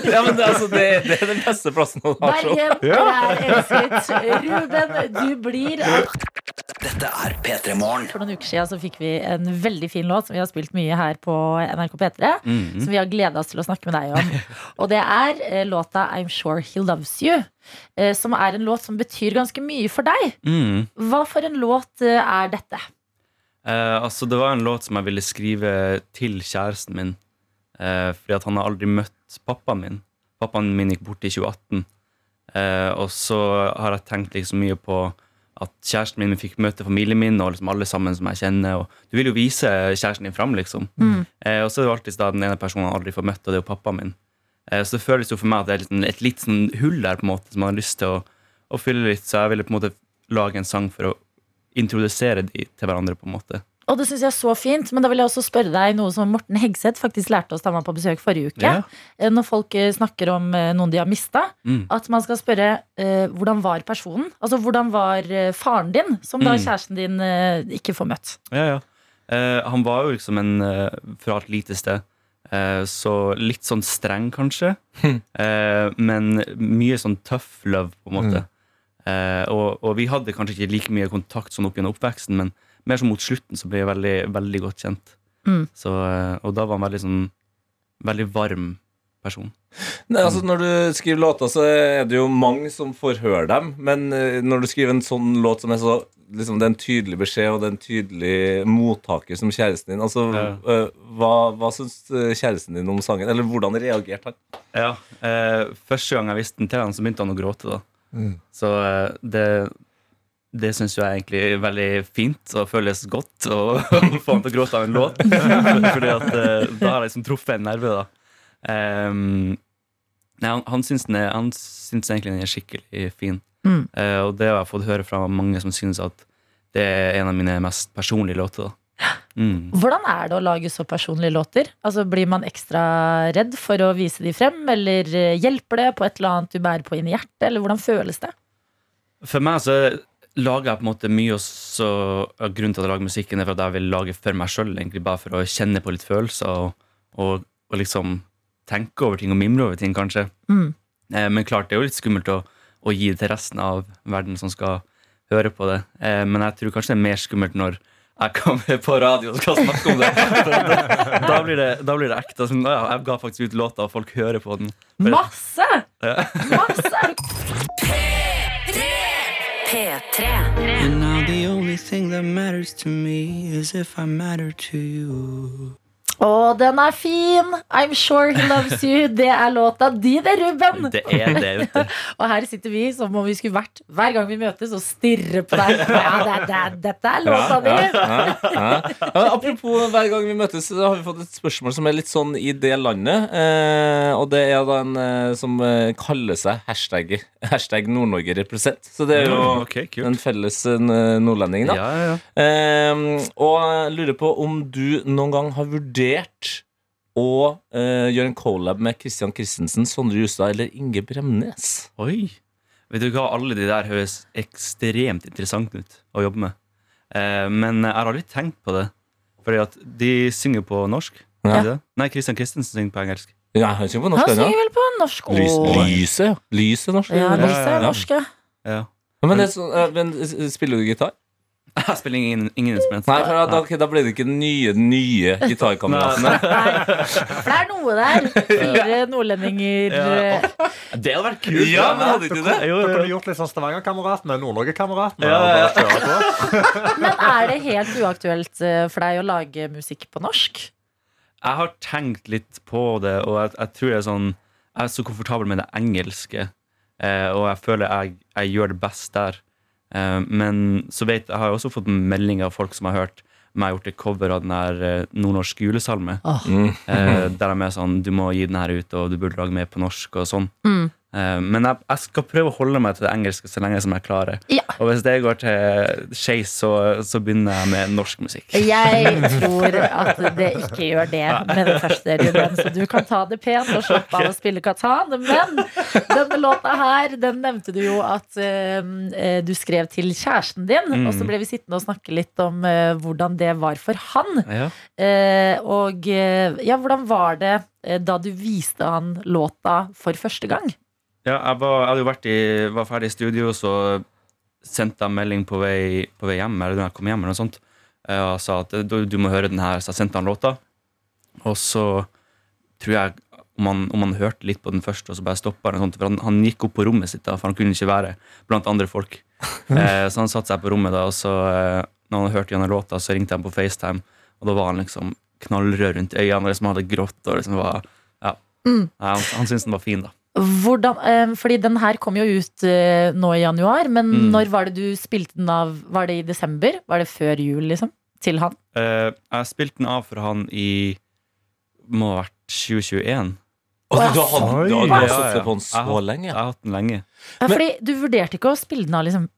Ja, men det, er altså, det, det er den beste plassen å ha show. Bergen, du er elsket. Ruben, du blir Dette er P3 Morgen. For noen uker siden så fikk vi en veldig fin låt som vi har spilt mye her på NRK P3. Mhm. Som vi har gleda oss til å snakke med deg om. [laughs] Og det er eh, låta I'm Sure He Loves You. eh, Som er en låt som betyr ganske mye for deg. Mm. Hva for en låt eh, er dette? Eh, altså, det var en låt som jeg ville skrive til kjæresten min. eh, fordi at han har aldri møtt pappaen min. Pappaen min gikk bort i 2018. Eh, og så har jeg tenkt liksom mye på at kjæresten min fikk møte familien min og liksom alle sammen som jeg kjenner. Og du vil jo vise kjæresten din fram, liksom. Eh, og så er det jo alltid da den ene personen han aldri får møtt, og det er jo pappaen min. Eh, så det føles jo for meg at det er liksom et litt sånn hull der på en måte som man har lyst til å, å fylle litt. Så jeg ville på en måte lage en sang for å introdusere de til hverandre, på en måte. Og det synes jeg er så fint, men da vil jeg også spørre deg noe som Morten Hegseth faktisk lærte oss da han var på besøk forrige uke. Ja. Eh, Når folk eh, snakker om eh, noen de har mista, Mm. at man skal spørre eh, hvordan var personen? Altså hvordan var eh, faren din, som da Mm. kjæresten din eh, ikke får møtt? Ja, ja. Eh, han var jo liksom en eh, fra et lite sted. Eh, så litt sånn streng, kanskje. Eh, men mye sånn tough love, på en måte. Eh, og, og vi hadde kanskje ikke like mye kontakt sånn opp gjennom oppveksten, men mer sånn mot slutten så ble vi veldig, veldig godt kjent. Mm. Så, eh, og da var han veldig sånn Veldig varm person. Nei, altså Når du skriver låter, så er det jo mange som får høre dem. Men eh, når du skriver en sånn låt som er så liksom, Det er en tydelig beskjed, og det er en tydelig mottaker som kjæresten din. Altså, Ja. eh, Hva, hva syns eh, kjæresten din om sangen? Eller hvordan reagerte han? Ja, eh, Første gang jeg viste den til han, så begynte han å gråte. da Så eh, det, det syns jeg er egentlig er veldig fint og føles godt å [laughs] få han til å gråte av en låt. [laughs] Fordi at eh, da har jeg liksom truffet en nerve, da. Ehm, nei, han, han, syns den er, han syns egentlig den er skikkelig fin. Mm. Eh, og det har jeg fått høre fra mange som syns at det er en av mine mest personlige låter. da mm. Hvordan er det å lage så personlige låter? Altså Blir man ekstra redd for å vise de frem, eller eh, hjelper det på et eller annet du bærer på inn i hjertet, eller hvordan føles det? For meg så lager jeg på en måte mye også, og Grunnen til at jeg lager musikken, er for at jeg vil lage for meg sjøl, egentlig bare for å kjenne på litt følelser og, og, og liksom tenke over ting og mimre over ting, kanskje. Mm. Eh, men klart, det er jo litt skummelt å, å gi det til resten av verden som skal høre på det. Eh, men jeg tror kanskje det er mer skummelt når jeg kommer på radio og skal snakke [laughs] om det. For Da, da, blir, det da blir det ekte. Sånn, «Å ja, jeg ga faktisk ut låta, og folk hører på den. Masse! Ja. Masse! P3. And now the only thing that matters to me is if I matter to you. Å, den er fin! I'm sure he loves you. Det er låta di, det, Ruben. Det er det, vet du. Og her sitter vi som om vi skulle vært hver gang vi møtes og stirrer på deg. Ja, det, er- det, er- dette er låta di! ja, ja. Ja, men Apropos hver gang vi møtes, så har vi fått et spørsmål som er litt sånn i det landet. Eh, og det er da en eh, som eh, kaller seg hashtag, hashtag Nord-Norge represent. Så det er jo Ok, kult. en felles eh, nordlending, da. Ja, ja, ja. Eh, og jeg lurer på om du noen gang har vurdert å eh, gjøre en collab med Christian Christensen, Sondre Justad eller Inge Bremnes. Oi. Vet du hva, alle de der høres ekstremt interessante ut å jobbe med. Eh, men jeg har aldri tenkt på det. Fordi at de synger på norsk. er Ja. det det? Nei, Christian Christensen synger på engelsk. Ja, han synger på norsk, Han han, synger ja. vel på norsk Lys, også. lyset, ja. Lyset er norsk. Ja, lys. lyset er norsk, ja. Ja. [laughs] Ja, Men, det er sånn, eh, men eh, spiller du gitar? Jeg spiller ingen, ingen instrument. Nei, for da, da, ok, da ble det ikke den nye, nye gitarkameraten. Nei, for det er noe der. Fire nordlendinger Ja. eh, Det hadde vært kult! Ja, men hadde ikke det? Jo, Du jo, kunne jo. gjort litt sånn Stavanger-kameratene, Nord-Norge-kameratene. Ja, ja, ja. og bare kjøre på. Men er det helt uaktuelt eh, for deg å lage musikk på norsk? Jeg har tenkt litt på det, og jeg, jeg tror jeg er sånn Jeg er så komfortabel med det engelske, eh, og jeg føler jeg, jeg gjør det best der. Eh, men så vet jeg har jo også fått meldinger av folk som har hørt meg gjort et cover av den her eh, nordnorsk julesalme. Ah. Mm. Eh, der de er sånn Du må gi den her ut, og du burde lage mer på norsk og sånn. Mm. Eh, men jeg, jeg skal prøve å holde meg til det engelske så lenge som jeg klarer. Ja. Og hvis det går til skeis, så, så begynner jeg med norsk musikk. Jeg tror at det ikke gjør det med det første, Ruben. Så du kan ta det pent og slappe av å spille Katan. Men denne låta her, den nevnte du jo at eh, du skrev til kjæresten din. Og Mm. så ble vi sittende og snakke litt om eh, hvordan det var for han. Ja. Eh, og eh, ja, hvordan var det eh, da du viste han låta for første gang? Ja, jeg, var, jeg hadde jo vært i, var ferdig i studio, så sendte jeg melding på vei, på vei hjem, eller når jeg kom hjem, eller noe sånt, eh, og sa at du, du må høre den her, så jeg sendte han låta. Og så tror jeg om han, om han hørte litt på den først, og så bare stoppa han, og sånt, for han, han gikk opp på rommet sitt, da, for han kunne ikke være blant andre folk. Eh, så han satte seg på rommet, da, og så, eh, når han hørte gjennom låta, så ringte han på FaceTime, og da var han liksom knallrød rundt øynene, og liksom hadde grått, og liksom var Ja. Nei, han, han syntes den var fin, da. Hvordan, eh, fordi den her kom jo ut eh, nå i januar, men Mm. når var det du spilte den av? Var det i desember? Var det før jul, liksom? Til han? Eh, jeg spilte den av for han i Må ha vært 2021. Og du har hatt du har- du Oi. har sittet på den Jeg så har- lenge. Jeg har hatt den [laughs] lenge. Ja, fordi du vurderte ikke å spille den av liksom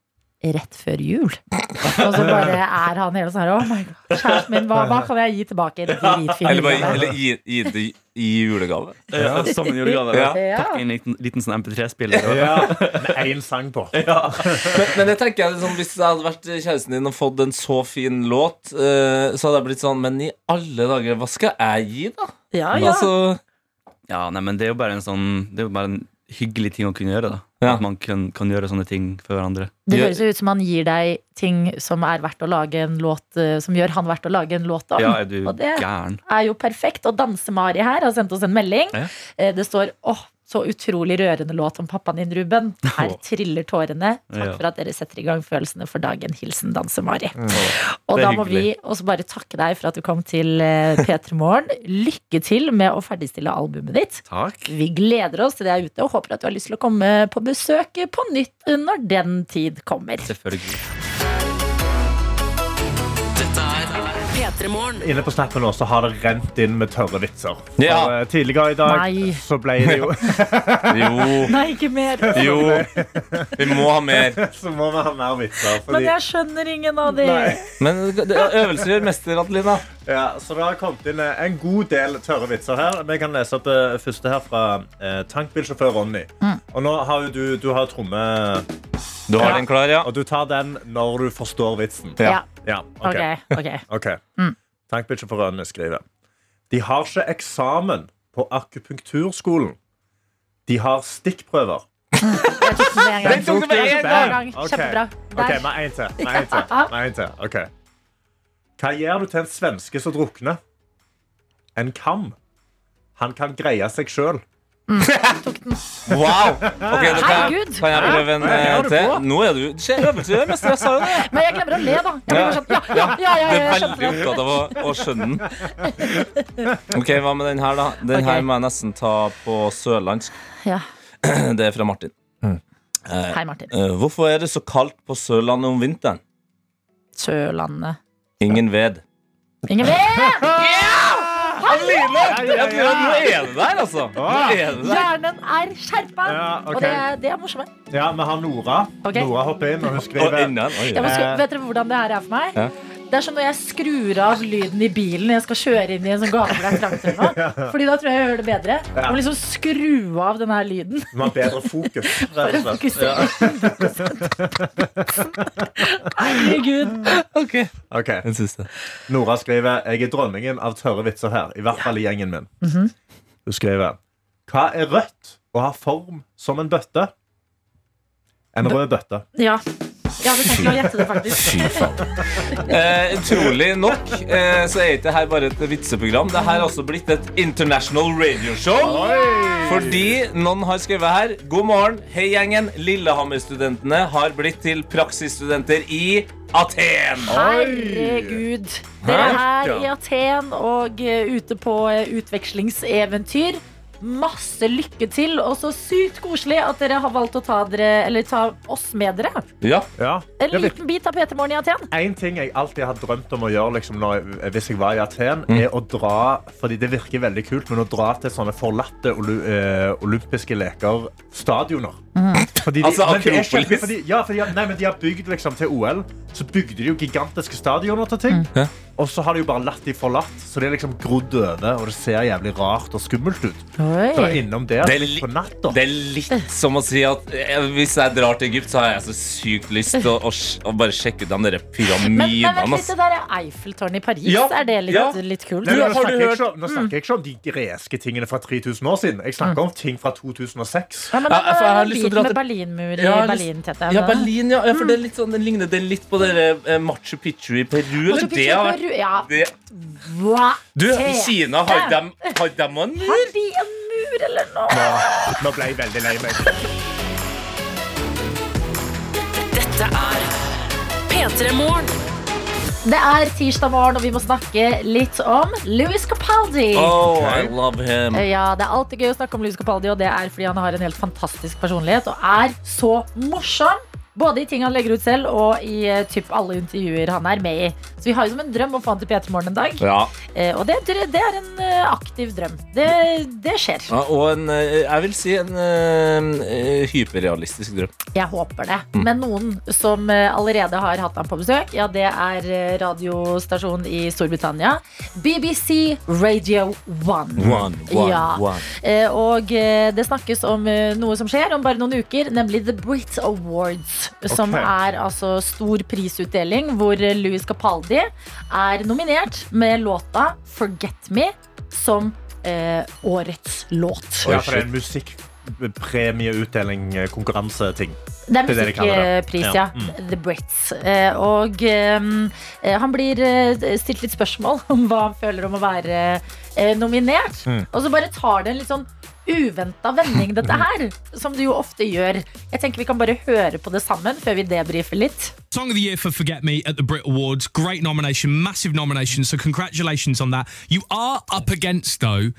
rett før jul. Og så bare er han hele sånn her Oh my god, kjæresten min, hva, hva kan jeg gi tilbake? En dritfin Eller bare julegave?» eller gi, gi det i- i julegave. Ja. Eh, Som en julegave. Ja. Takk i en liten, liten sånn MP3-spiller. Ja, med én sang på. Men, men jeg tenker jeg liksom, hvis jeg hadde vært kjæresten din og fått en så fin låt, eh, så hadde jeg blitt sånn Men i alle dager, hva skal jeg gi, da? Ja, Ah, ja. Altså, Ja, nei, men det er jo bare en sånn Det er jo bare en hyggelig ting å kunne gjøre. da Ja. At man kan, kan gjøre sånne ting for hverandre. Det høres jo ut som han gir deg ting som er verdt å lage en låt eh, Som gjør han verdt å lage en låt om. Ja, er du Og det- gæren? er jo perfekt. Og Danse-Mari her har sendt oss en melding. Ja. Eh, Det står åh, så utrolig rørende låt om pappaen din, Ruben. Her triller tårene. Takk Ja. Mm. for at dere setter i gang følelsene for dagen. Hilsen Danse-Mari. det Og er da må vi hyggelig. også bare takke deg for at du kom til eh, P3 Morgen. Lykke til med å ferdigstille albumet ditt. Takk. Vi gleder oss til det er ute, og håper at du har lyst til å komme på besøk på nytt når den tid kommer. Selvfølgelig. P3 Morgen. Inne på snappen nå så har det rent inn med tørre vitser. For, Ja. eh, tidligere i dag Nei. så ble det jo [laughs] jo, Nei, ikke mer. jo. Vi må ha mer. Så må vi ha mer vitser. Men Fordi, jeg skjønner ingen av de. Nei. Men det- øvelser gjør mester, Adelina. ja, så det har kommet inn eh, en god del tørre vitser her. Vi kan lese opp eh, første her fra eh, tankbilsjåfør Ronny. Mm. Og nå har jo du, du har tromme, Du har den klar, ja? og du tar den når du forstår vitsen. Ja, Ja, ok. ok, Mm. ok. Ok. Tankbilsjåførene skriver De har ikke eksamen på akupunkturskolen. De har stikkprøver. Jeg tok den med en gang. Den tok du med en Hver gang. Ok. Kjempebra. Ok, Der. med en til. Med en til. Med en til. Ok. Hva gjør du til en svenske som drukner? En kam. Han kan greie seg sjøl. Wow! Ok, nå kan jeg, Herregud. kan jeg prøve en Hva er eh, det du til? har på? Nå er du Se, øvelse gjør mest stress, sa jo det. Men jeg glemmer å le, da. Jeg blir bare sånn, ja, ja, ja, ja, Det ja, er jeg veldig skjønte det. opptatt av å, å skjønne den. [laughs] Ok, hva med den her, da? Den Ok. her må jeg nesten ta på sørlandsk. [clears throat] Ja. Det er fra Martin. Hei, Martin. Eh, Hvorfor er det så kaldt på Sørlandet om vinteren? Sørlandet. Ingen ved. Ingen vet! Adeline! Adeline, Nå er det der, altså! Nå er det der. Hjernen er skjerpa! Ja, ok. Og det, er- det er morsomme. Ja, vi har Nora. Ok. Nora hopper inn, og hun Og skriver enda en. Oi. Jeg må skru, Eh. vet dere hvordan det her er for meg? Ja. Det er som når jeg skrur av lyden i bilen når jeg skal kjøre inn i en sånn gate hvor det er trangt. [laughs] eller noe. Fordi da tror jeg jeg hører det bedre. Jeg må liksom skru av den her lyden. Vi har bedre [laughs] fokus. rett og slett. Fokusere. Herregud. Ok. Den siste. Nora skriver Jeg er dronningen av tørre vitser her. I hvert fall i gjengen min. Mhm. Hun skriver Hva er rødt og har form som en bøtte? En rød bøtte. Ja. Jeg hadde tenkt å gjette det, faktisk. Fy faen. [laughs] Eh, utrolig nok eh, så er ikke det her bare et vitseprogram. Det her er også blitt et international radioshow. Fordi noen har skrevet her God morgen, hei gjengen. Lillehammer-studentene har blitt til praksisstudenter i Aten. Herregud. Dere er Hæ? i Aten og eh, ute på eh, utvekslingseventyr. Masse lykke til, og så sykt koselig at dere har valgt å ta, dere, eller ta oss med dere. Ja. Ja. En Ja, vi- liten bit av PT-morgen i Aten. En ting jeg alltid har drømt om å gjøre liksom, når, jeg- hvis jeg var i Aten, Mm. er å dra Fordi det virker veldig kult, men å dra til sånne forlatte olu- eh, olympiske leker stadioner. Fordi de, Altså, men det er Akropolis. kjempe- fordi, ja, fordi, nei, men de har bygd liksom, til OL Så bygde de jo gigantiske stadioner til ting. Mm. Ja. Og så har de jo bare latt de forlatt, så de er liksom grodd over, og det ser jævlig rart og skummelt ut. Dra innom der Mm. Det er li- på natta. Det er litt som å si at eh, hvis jeg drar til Egypt, så har jeg så sykt lyst til å, å, sj- å bare sjekke ut de der Men, men pyramidene. vent litt, ass. det der er Eiffeltårnet i Paris. Ja, Er det litt, ja. litt kult? Nei, men har nå, du snakker hørt- jeg Mm. ikke om, nå snakker jeg ikke om de greske tingene fra 3000 år siden. Jeg snakker om ting fra 2006. Ja, men Ja, den, for jeg har eh, lyst til å biten dra med til- Berlinmur i Ja, jeg har lyst- Berlin, Tete. Altså. Mm. er det Ja, det? Berlin, ja. ja for det er litt sånn, den ligner den litt på dere, eh, Machu Picchu i Peru. Machu Eller Picchu det har vært Peru, Ja, det. hva? Du, Tre. i Kina har de, har de en mur? Har de en mur, eller noe? Nå ble jeg veldig lei meg. Dette er P3 Morgen. Det er tirsdag morgen, og vi må snakke litt om Louis Capaldi. Oh, I love him. Ja, Det er alltid gøy å snakke om Louis Capaldi, og det er fordi han har en helt fantastisk personlighet og er så morsom. Både i ting han legger ut selv, og i eh, typ alle intervjuer han er med i. Så vi har jo som en drøm å få han til P3 Morgen en dag. Ja, Eh, og det, det er en eh, aktiv drøm. Det, det skjer. ja, og en, eh, jeg vil si en eh, eh, hyperrealistisk drøm. Jeg håper det. Men noen som eh, allerede har hatt ham på besøk, ja, det er eh, radiostasjonen i Storbritannia. BBC Radio 1. One, one, Ja. one. Eh, Og eh, det snakkes om eh, noe som skjer om bare noen uker, nemlig The Brit Awards. Som Ok. er altså stor prisutdeling hvor eh, Louis Capaldi er nominert med låta 'Forget Me' som eh, årets låt. Ja, for det er en eh, musikkpremieutdeling-konkurranseting. Det er Det er det de kaller det. musikkpris, ja. The Brits. Eh, Og eh, han blir eh, stilt litt spørsmål [laughs] om hva han føler om å være eh, nominert. Og så bare tar det en litt sånn uventa vending, dette her. Som det jo ofte gjør. Jeg tenker vi kan bare høre på det sammen før vi debrifer litt. Song of the Year for Forget Me at the Brit Awards. Great nomination, massive nomination. So, congratulations on that. You are up against, though,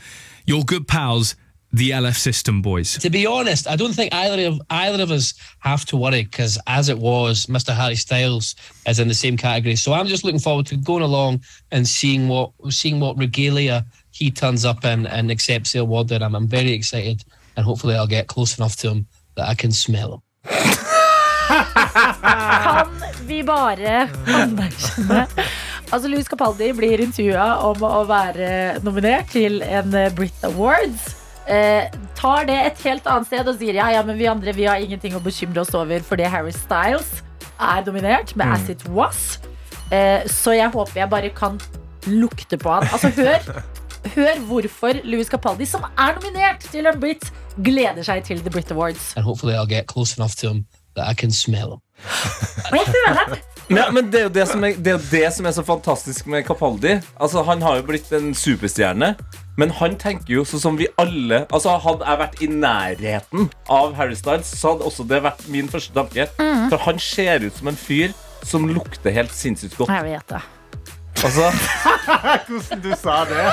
your good pals, the LF System Boys. To be honest, I don't think either of either of us have to worry because, as it was, Mr. Harry Styles is in the same category. So I'm just looking forward to going along and seeing what seeing what regalia he turns up in and accepts the award. That I'm, I'm very excited, and hopefully I'll get close enough to him that I can smell him. Kan vi bare anerkjenne Altså, Louis Capaldi blir intervjua om å være nominert til en eh, Brit Awards. Eh, tar det et helt annet sted og sier ja, ja, men vi andre vi har ingenting å bekymre oss over fordi Harry Styles er dominert med As It Was. Eh, så jeg håper jeg bare kan lukte på han. Altså, hør Hør hvorfor Louis Capaldi, som er nominert til en Brit, gleder seg til The Brit Awards. and hopefully I'll get close enough to them that I can smell them. Ja, men det er, jo det, som er, det er jo det som er så fantastisk med Capaldi. Altså, Han har jo blitt en superstjerne, men han tenker jo sånn som vi alle Altså, Hadde jeg vært i nærheten av Harry Styles, så hadde også det vært min første tanke. Mhm. For han ser ut som en fyr som lukter helt sinnssykt godt. [laughs] Jeg vet det. Altså, Hvordan du sa det?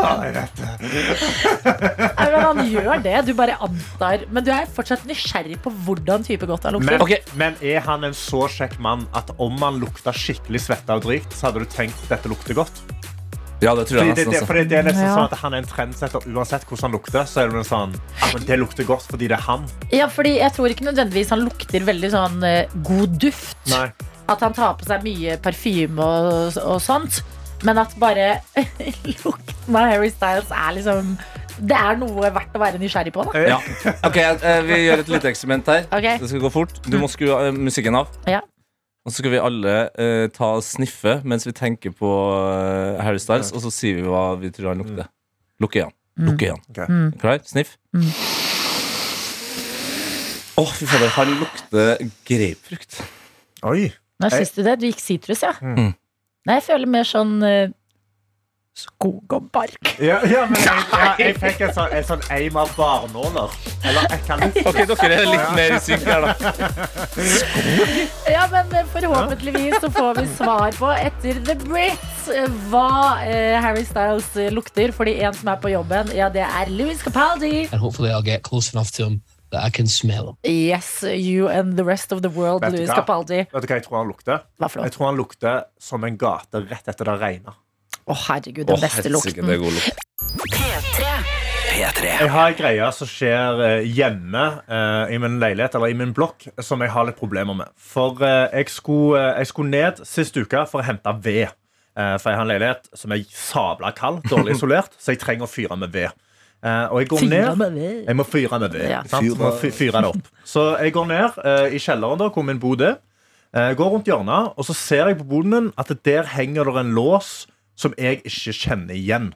Ah, jeg vet det. Nei, men han gjør det. Du bare antar. Men du er fortsatt nysgjerrig på hvordan type godt han lukter. Men, men er han en så kjekk mann at om han lukta skikkelig svetta og drit, så hadde du altså tenkt dette lukter godt? Ja, det tror jeg Fordi det, nesten det, også. fordi det er nesten Ja. sånn at Han er en trendsetter uansett hvordan han lukter. Så er det vel sånn, ja, men det lukter godt fordi det er han. Ja, fordi jeg tror ikke nødvendigvis han lukter veldig sånn eh, god duft. Nei. At han tar på seg mye parfyme og, og sånt. Men at bare [laughs] lukten av Harry Styles er liksom Det er noe verdt å være nysgjerrig på, da. Ja. Ok, eh, Vi gjør et lite eksperiment her. Ok. Det skal gå fort. Du må skru eh, musikken av. Ja. Og så skal vi alle eh, ta og sniffe mens vi tenker på eh, Harry Styles, og så sier vi hva vi tror han lukter. Lukk igjen. Lukk igjen. Mm. Klar? Sniff. Å, Mm. fy fader. Han lukter grapefrukt. Oi. Nå syns du det. Du gikk sitrus, ja. Mm. Nei, jeg føler mer sånn eh, skog og bark. Ja, ja, men [laughs] jeg, ja, jeg fikk en sånn, en sånn aim av barnåler. Eller ekkalutt. Ok, dere er litt mer i synk her, da. Ja, men eh, forhåpentligvis så får vi svar på etter The Brits eh, hva eh, Harry Styles eh, lukter. Fordi en som er på jobben, ja, det er Louis Capaldi. And hopefully I'll get close enough to them that I can smell them. Yes, you and the rest of the world, Vet du Louis hva? Capaldi. Vet du hva jeg tror han lukter? Hva for noe? Jeg tror han lukter som en gate rett etter det regner. Å, herregud, den beste lukten. det er god lukt. P3. Jeg har en greie som skjer eh, hjemme eh, i min leilighet eller i min blokk, som jeg har litt problemer med. For eh, jeg, skulle, eh, jeg skulle ned sist uke for å hente ved. Eh, for jeg har en leilighet som er sabla kald, dårlig isolert, så jeg trenger å fyre med ved. Eh, og jeg går Fyra ned med ved. Jeg må fyre med ved. Ja. Sant? Må fy- fyre det opp. [laughs] Så jeg går ned eh, i kjelleren, da, hvor min bod er. Eh, går rundt hjørnet, og så ser jeg på boden min at der henger det en lås som jeg ikke kjenner igjen.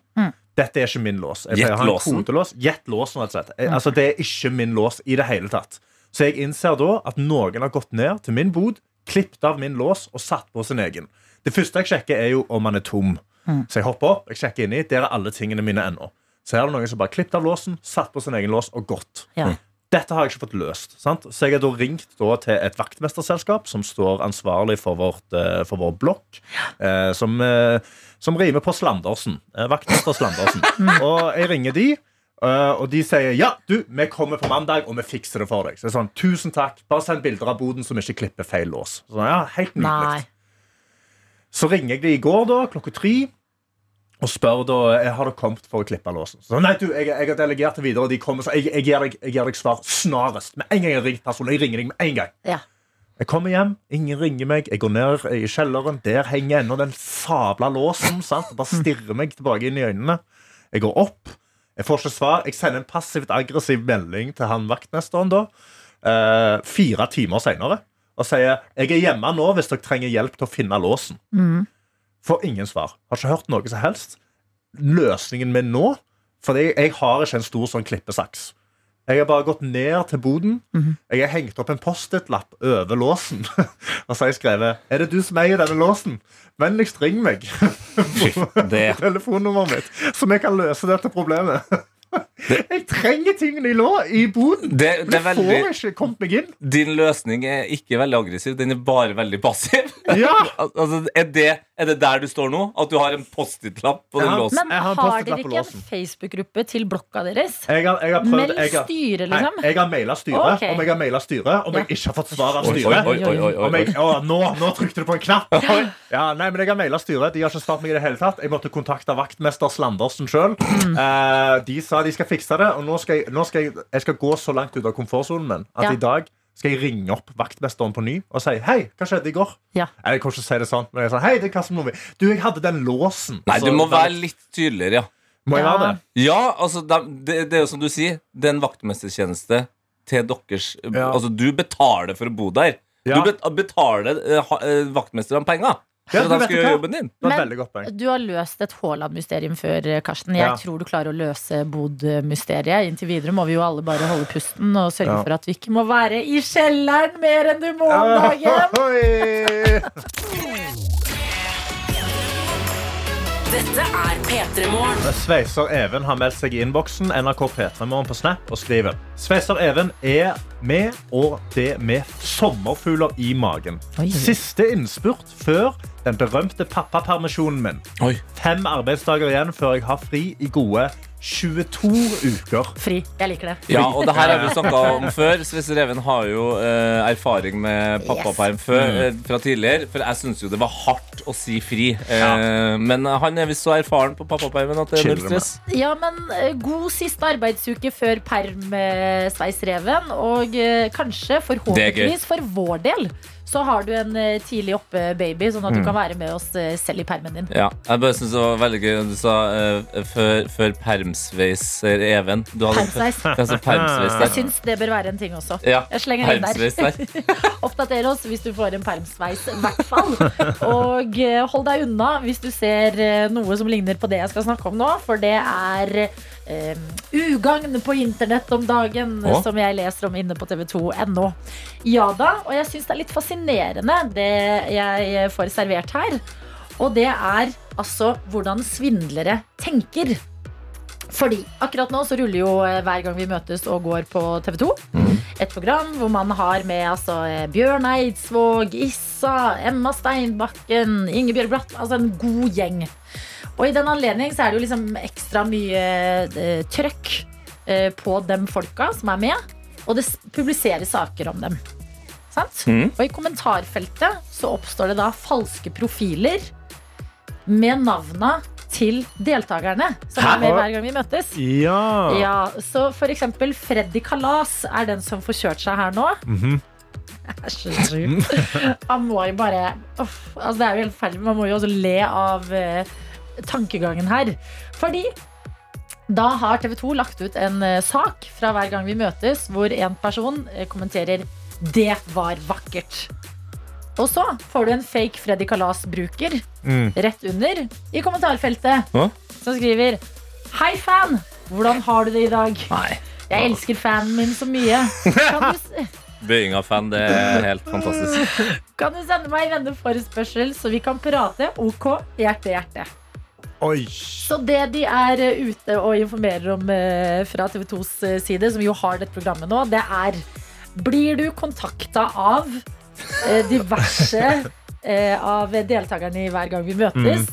Dette er ikke min lås. Jeg pleier å ha en Gjettlåsen. kodelås. Gjettlåsen, rett og slett. Eh, Altså, det er ikke min lås i det hele tatt. Så jeg innser da at noen har gått ned til min bod, klippet av min lås og satt på sin egen. Det første jeg sjekker, er jo om han er tom. Mm. Så jeg hopper opp, jeg sjekker inni, der er alle tingene mine ennå. Så her er det noen som bare klippet av låsen, satt på sin egen lås og gått. Mm. Ja. Dette har jeg ikke fått løst. Sant? Så jeg har da ringt da til et vaktmesterselskap som står ansvarlig for, vårt, eh, for vår blokk, eh, som, eh, som rimer på Slandersen. Eh, vaktmester [laughs] Slandersen. Mm. Og jeg ringer de, eh, og de sier ja, du, vi kommer på mandag, og vi fikser det for deg. Så jeg er sånn, tusen takk, bare send bilder av boden som ikke klipper feil lås. Så, ja, helt nydelig. Nei. Så ringer jeg de i går da, klokka tre og spør da eh, har det kommet for å klippe låsen. Så, nei, du, jeg, jeg har delegert det videre. og De kommer, så jeg, jeg, gir deg, jeg gir deg svar snarest. Med en gang jeg har ringt personen. Jeg ringer deg med en gang. Ja. Jeg kommer hjem, ingen ringer meg. Jeg går ned i kjelleren. Der henger ennå den sabla låsen. Sant? Bare stirrer meg tilbake inn i øynene. Jeg går opp. Jeg får ikke svar. Jeg sender en passivt aggressiv melding til han vaktmesteren da, eh, fire timer seinere og sier jeg er hjemme nå hvis dere trenger hjelp til å finne låsen. Mm. Får ingen svar. Har ikke hørt noe som helst. Løsningen min nå For jeg, jeg har ikke en stor sånn klippesaks. Jeg har bare gått ned til boden. Jeg har hengt opp en Post-It-lapp over låsen. [laughs] og så har jeg skrevet 'Er det du som eier denne låsen? Vennligst ring meg'. [laughs] Det. Telefonnummeret mitt. Så vi kan løse dette problemet. jeg trenger tingene i, lå, i boden. Det, det Men er jeg veldig, får ikke kommet meg inn. din løsning er ikke veldig aggressiv, den er bare veldig passiv. [laughs] Ja! Al- Altså, er, det, er det der du står nå? At du har en Post-It-lapp på den Ja. låsen? Men Jeg har har en dere post-it-lapp på ikke en låsen. Facebook-gruppe til blokka deres? Jeg har, jeg har prøvd Meld jeg har, styret, Nei, liksom? jeg har maila styret. Ok. Om jeg har mailet styret, om jeg Ja. ikke har fått svar av Oi, oi, styret. oi, oi, oi, Om oi. jeg, å, nå, nå trykte du på en knapp! Ja, nei, men Jeg har mailet styret. De har ikke svart meg i det hele tatt. Jeg måtte kontakte vaktmester Slandersen sjøl. Mm. de sa de skal fikse det, og nå skal jeg, nå skal jeg, jeg skal gå så langt ut av komfortsonen min at Ja. i dag skal jeg ringe opp vaktmesteren på ny og si hei, hva skjedde i går? Ja. Nei, Jeg kan ikke si det sånn, men jeg sa hei, det er Karsten Movi. Du, jeg hadde den låsen. Nei, du Så- må være litt tydeligere, ja. Må jeg Ja. være det? Ja, altså, det, det, det er jo som du sier, det er en vaktmestertjeneste til deres Ja. Altså, du betaler for å bo der. Ja. Du bet- betaler eh, ha- eh, vaktmesterne penger. Ja, men de vet du skal gjøre hva? jobben din. Men du har løst et Haaland-mysterium før, eh, Karsten. Jeg Ja. tror du klarer å løse Bod-mysteriet. Inntil videre må vi jo alle bare holde pusten og sørge Ja. for at du ikke må være i kjelleren mer enn du må om [laughs] dagen. Dette er P3 Morgen. Sveiser Even har meldt seg i innboksen NRK P3morgen på Snap og skriver Sveiser Even er med, og det med sommerfugler i magen. Siste innspurt før den berømte pappapermisjonen min. Fem arbeidsdager igjen før jeg har fri i gode 22 uker. Fri. Jeg liker det. Ja, og det her har vi snakka om før. Svesse Reven har jo eh, erfaring med pappaperm før, eh, fra tidligere. For jeg syns jo det var hardt å si fri. Eh, Men han er visst så erfaren på pappapermen at det er null Chiller med. stress. Ja, men eh, god siste arbeidsuke før perm eh, Sveis Reven. Og eh, kanskje, Det forhåpentligvis for vår del, så har du en eh, tidlig oppe baby, sånn at du Mm. kan være med oss eh, selv i permen din. Ja, jeg bare synes det var veldig gøy Du sa eh, før, før permsveiser Even Du hadde- Permsveis. [laughs] Det er så permsveis der. Jeg syns det bør være en ting også. Ja, Jeg slenger den permsveis der. Oppdater oss hvis du får en permsveis, i hvert fall. Og eh, hold deg unna hvis du ser eh, noe som ligner på det jeg skal snakke om nå, for det er eh, ugagn på internett om dagen, Å? som jeg leser om inne på tv2.no. Ja da, og jeg syns det er litt fascinerende det jeg eh, får servert her. Og det er altså hvordan svindlere tenker. Fordi akkurat nå så ruller jo eh, hver gang vi møtes og går på TV 2 et program hvor man har med altså, eh, Bjørn Eidsvåg, Issa, Emma Steinbakken, Ingebjørg Bratt, altså en god gjeng. Og i den anledning så er det jo liksom ekstra mye eh, trøkk eh, på dem folka som er med, og det s- publiseres saker om dem. Sant? Mhm. Og i kommentarfeltet så oppstår det da falske profiler med navna til deltakerne som Hæ? er med hver gang vi møtes. Ja. Ja, så for eksempel Freddy Kalas er den som får kjørt seg her nå. [laughs] Jeg skjønner ikke. Han må jo bare Uff, altså Det er jo helt ferdig. Man må jo også le av eh, tankegangen her. Fordi da har TV 2 lagt ut en eh, sak fra hver gang vi møtes, hvor en person eh, kommenterer 'Det var vakkert'. Og så får du en fake Freddy Kalas-bruker Mm. rett under i kommentarfeltet Hå? som skriver Hei fan, hvordan har du det i dag? Jeg elsker fanen min så mye Kan du, [laughs] s- Bøying av fan, det er helt fantastisk kan du sende meg en venneforespørsel Så vi kan prate, ok, hjerte, hjerte Oi. Så det de er eh, ute og informerer om eh, Fra TV 2s side Som jo har dette programmet nå Det er, blir du kontakta av eh, Diverse [laughs] eh, Av deltakerne i hver gang vi møtes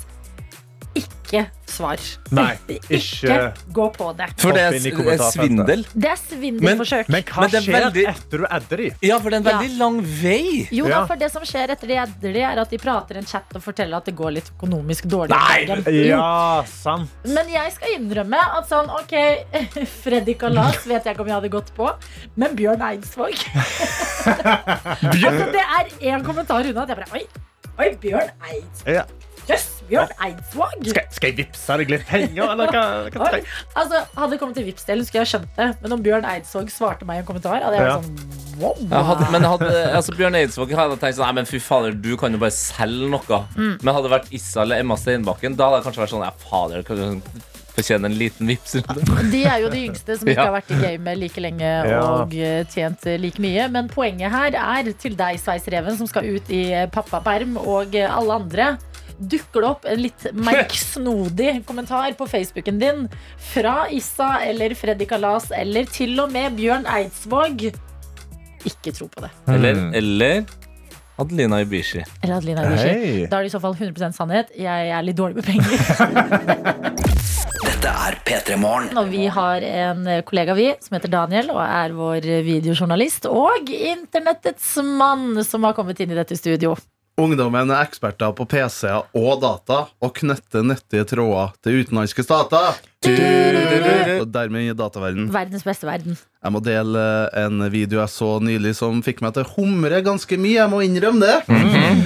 Ikke svar [laughs] Mm. Nei, Ikke ikke gå på det For det er- Hopp inn i det er kommentarfeltet. svindel. Det er svindelforsøk men hva skjer etter du adder de? Ja, for det er en Ja. veldig lang vei Jo da, for det som skjer etter de edder de, er at de prater i en chat og forteller at det går litt økonomisk dårlig. om dagen. Jo. Ja, sant. Men jeg skal innrømme at sånn, ok, [laughs] Freddy Kalas vet jeg ikke om jeg hadde gått på, men Bjørn Eidsvåg [laughs] altså, Det er én kommentar unna at jeg bare Oi, oi Bjørn Eidsvåg. Ja. Jøss, Bjørn Eidsvåg. Skal, skal jeg vippse deg litt penger, eller hva? hva Oi. Altså, hadde det kommet til Vipps-delen, skulle jeg skjønt det. Men om Bjørn Eidsvåg svarte meg i en kommentar, hadde jeg vært sånn wow. Jeg hadde, men hadde, altså Bjørn Eidsvåg hadde tenkt sånn Nei, men fy fader, du kan jo bare selge noe Mm. Men hadde det vært Issa eller Emma Steinbakken Da hadde jeg kanskje vært sånn Ja, fader, kan du fortjene en liten vips rundt det De er jo de yngste som ikke Ja. har vært i gamet like lenge Ja. og eh, tjent eh, like mye. Men poenget her er til deg, Sveisreven, som skal ut i eh, pappaperm, og eh, alle andre. Dukker det opp en litt merksnodig kommentar på Facebooken din fra Issa eller Freddy Kalas eller til og med Bjørn Eidsvåg? Ikke tro på det. Mm. Eller, eller Adelina Ibishi Eller Adelina Ibishi. Hei. Da er det i så fall 100 sannhet. Jeg er litt dårlig med penger. Dette er P3 Morgen. Og vi har en kollega vi som heter Daniel og er vår videojournalist og internettets mann som har kommet inn i dette studio. Ungdommen er eksperter på PC-er og data og knytter nyttige tråder til utenlandske stater. Og dermed i dataverden. Verdens beste verden. Jeg må dele en video jeg så nylig som fikk meg til å humre ganske mye. Jeg må innrømme det.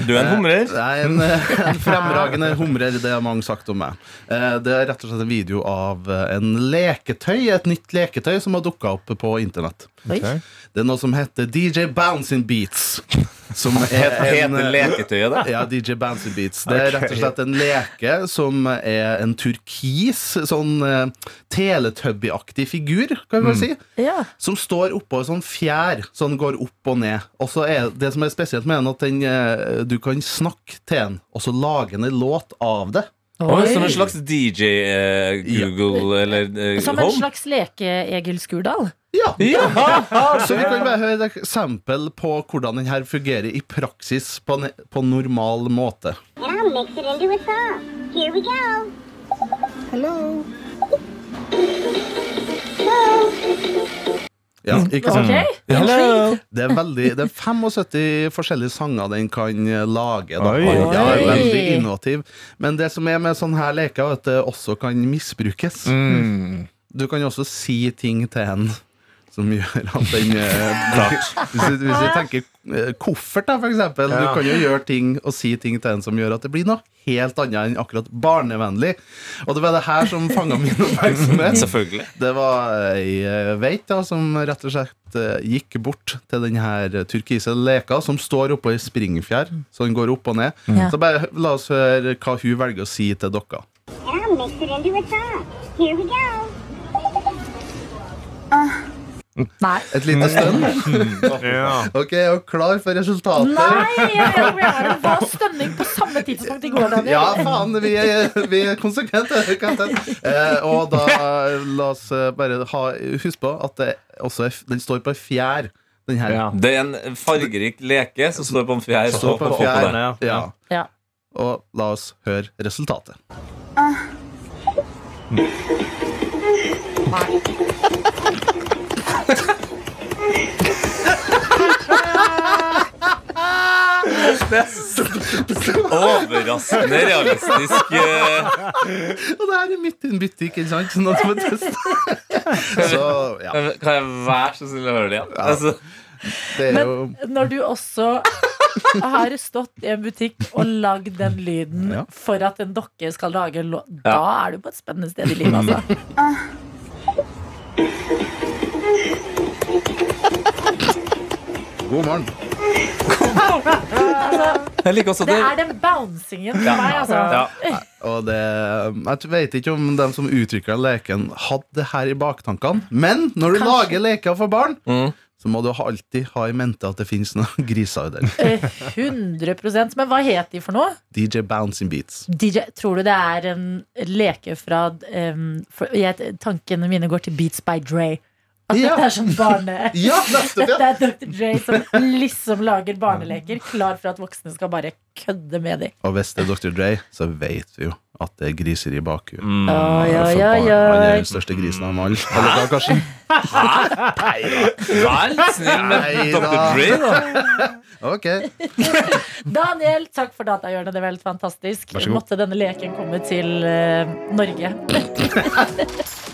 Du Eh, er en humrer. Jeg er en, [laughs] en fremragende humrer. Det har mange sagt om meg. Eh, Det er rett og slett en video av eh, en leketøy, et nytt leketøy som har dukka opp på internett. Oi. Det er noe som heter DJ Bouncing Beats. Som er eh, Het- [laughs] heter leketøyet det? Ja, DJ Bancy Beats. Det er Ok. rett og slett en leke som er en turkis, sånn uh, teletubbyaktig figur, kan Mm. vi vel si. Som står oppå en sånn fjær, så den går opp og ned. Og så er Det som er spesielt med den, at den, eh, du kan snakke til den, og så lage en låt av det. Oi. Som en slags DJ eh, Google eller eh, Som en Home? slags leke-Egil Skurdal. [laughs] Så vi kan bare høre et eksempel på hvordan den her fungerer i praksis på, en- på normal måte. And I'll mix it into a song. Here we go. Hello. Ja, ikke Mm. sant? Ok. Ja. Intrigued. Det, er veldig, det er 75 forskjellige sanger den kan eh, lage. Da. Oi. Ja, det er Oi. veldig innovativ. Men det som er med sånne her leker, er at det også kan misbrukes. Mm. Du kan jo også si ting til en som gjør at den eh, Klart. Hvis du, hvis du tenker eh, koffert, da, for eksempel. Ja. Du kan jo gjøre ting og si ting til en som gjør at det blir noe helt annet enn akkurat barnevennlig. Og det var det her som fanga min oppmerksomhet. Selvfølgelig. Det var ei eh, veit da, som rett og slett eh, gikk bort til den her turkise leka som står oppå ei springfjær, så den går opp og ned. Ja. Så bare la oss høre hva hun velger å si til dere. And I'll mix it into a song. Here we go. Uh, Nei. Et Mm. lite stønn? Ok, er dere klar for resultatet? Nei, jeg vet hvor jeg er. Det var stønning på samme tidspunkt i går, Daniel. Ja, faen, vi er, vi er konsekvente. kan jeg si. Eh, og da la oss eh, bare ha, husk på at det også er, f- den står på ei fjær, den her. Det er en fargerik leke som står på en fjær. Står og på en oppå fjær, der. ja. Ja. Og la oss høre resultatet. Det er så overraskende realistisk. eh, Og det her er midt i en butikk, ikke sant? Sånn Så nå skal vi [laughs] teste. Så, ja. Kan jeg være så snill å høre det igjen? Altså, Det er jo Men når du også har stått i en butikk og lagd den lyden for at en dokke skal lage en låt, da er du på et spennende sted i livet, altså. God morgen. Jeg liker også Det det- er den bouncingen for meg, altså. Nei, Og det, eh, jeg vet ikke om de som utvikla leken, hadde det her i baktankene. Men når du lager leker for barn, så må du ha- alltid ha i mente at det fins noen [laughs] griser i den. Eh, 100 Men hva het de for noe? DJ Bouncing Beats. DJ, tror du det er en leke fra em, for jeg, Tankene mine går til Beats by Dre. At Ja. dette er sånn [laughs] barne... Ja, nettopp, ja. Dette er Dr. Dre som liksom lager barneleker, klar for at voksne skal bare kødde med dem. Og hvis det er Dr. Dre, så vet vi jo at det er griser i bakhuet. Oi, oi, For barn, oi, Han Mm, er oi. den største grisen av dem alle. Eller hva, Karsten? Vær litt snill med Nei Dr. Dre, da. Ok. Daniel, takk for datahjørnet. Det var helt fantastisk. Vær så god. Måtte denne leken komme til eh, Norge. P3 Morgen.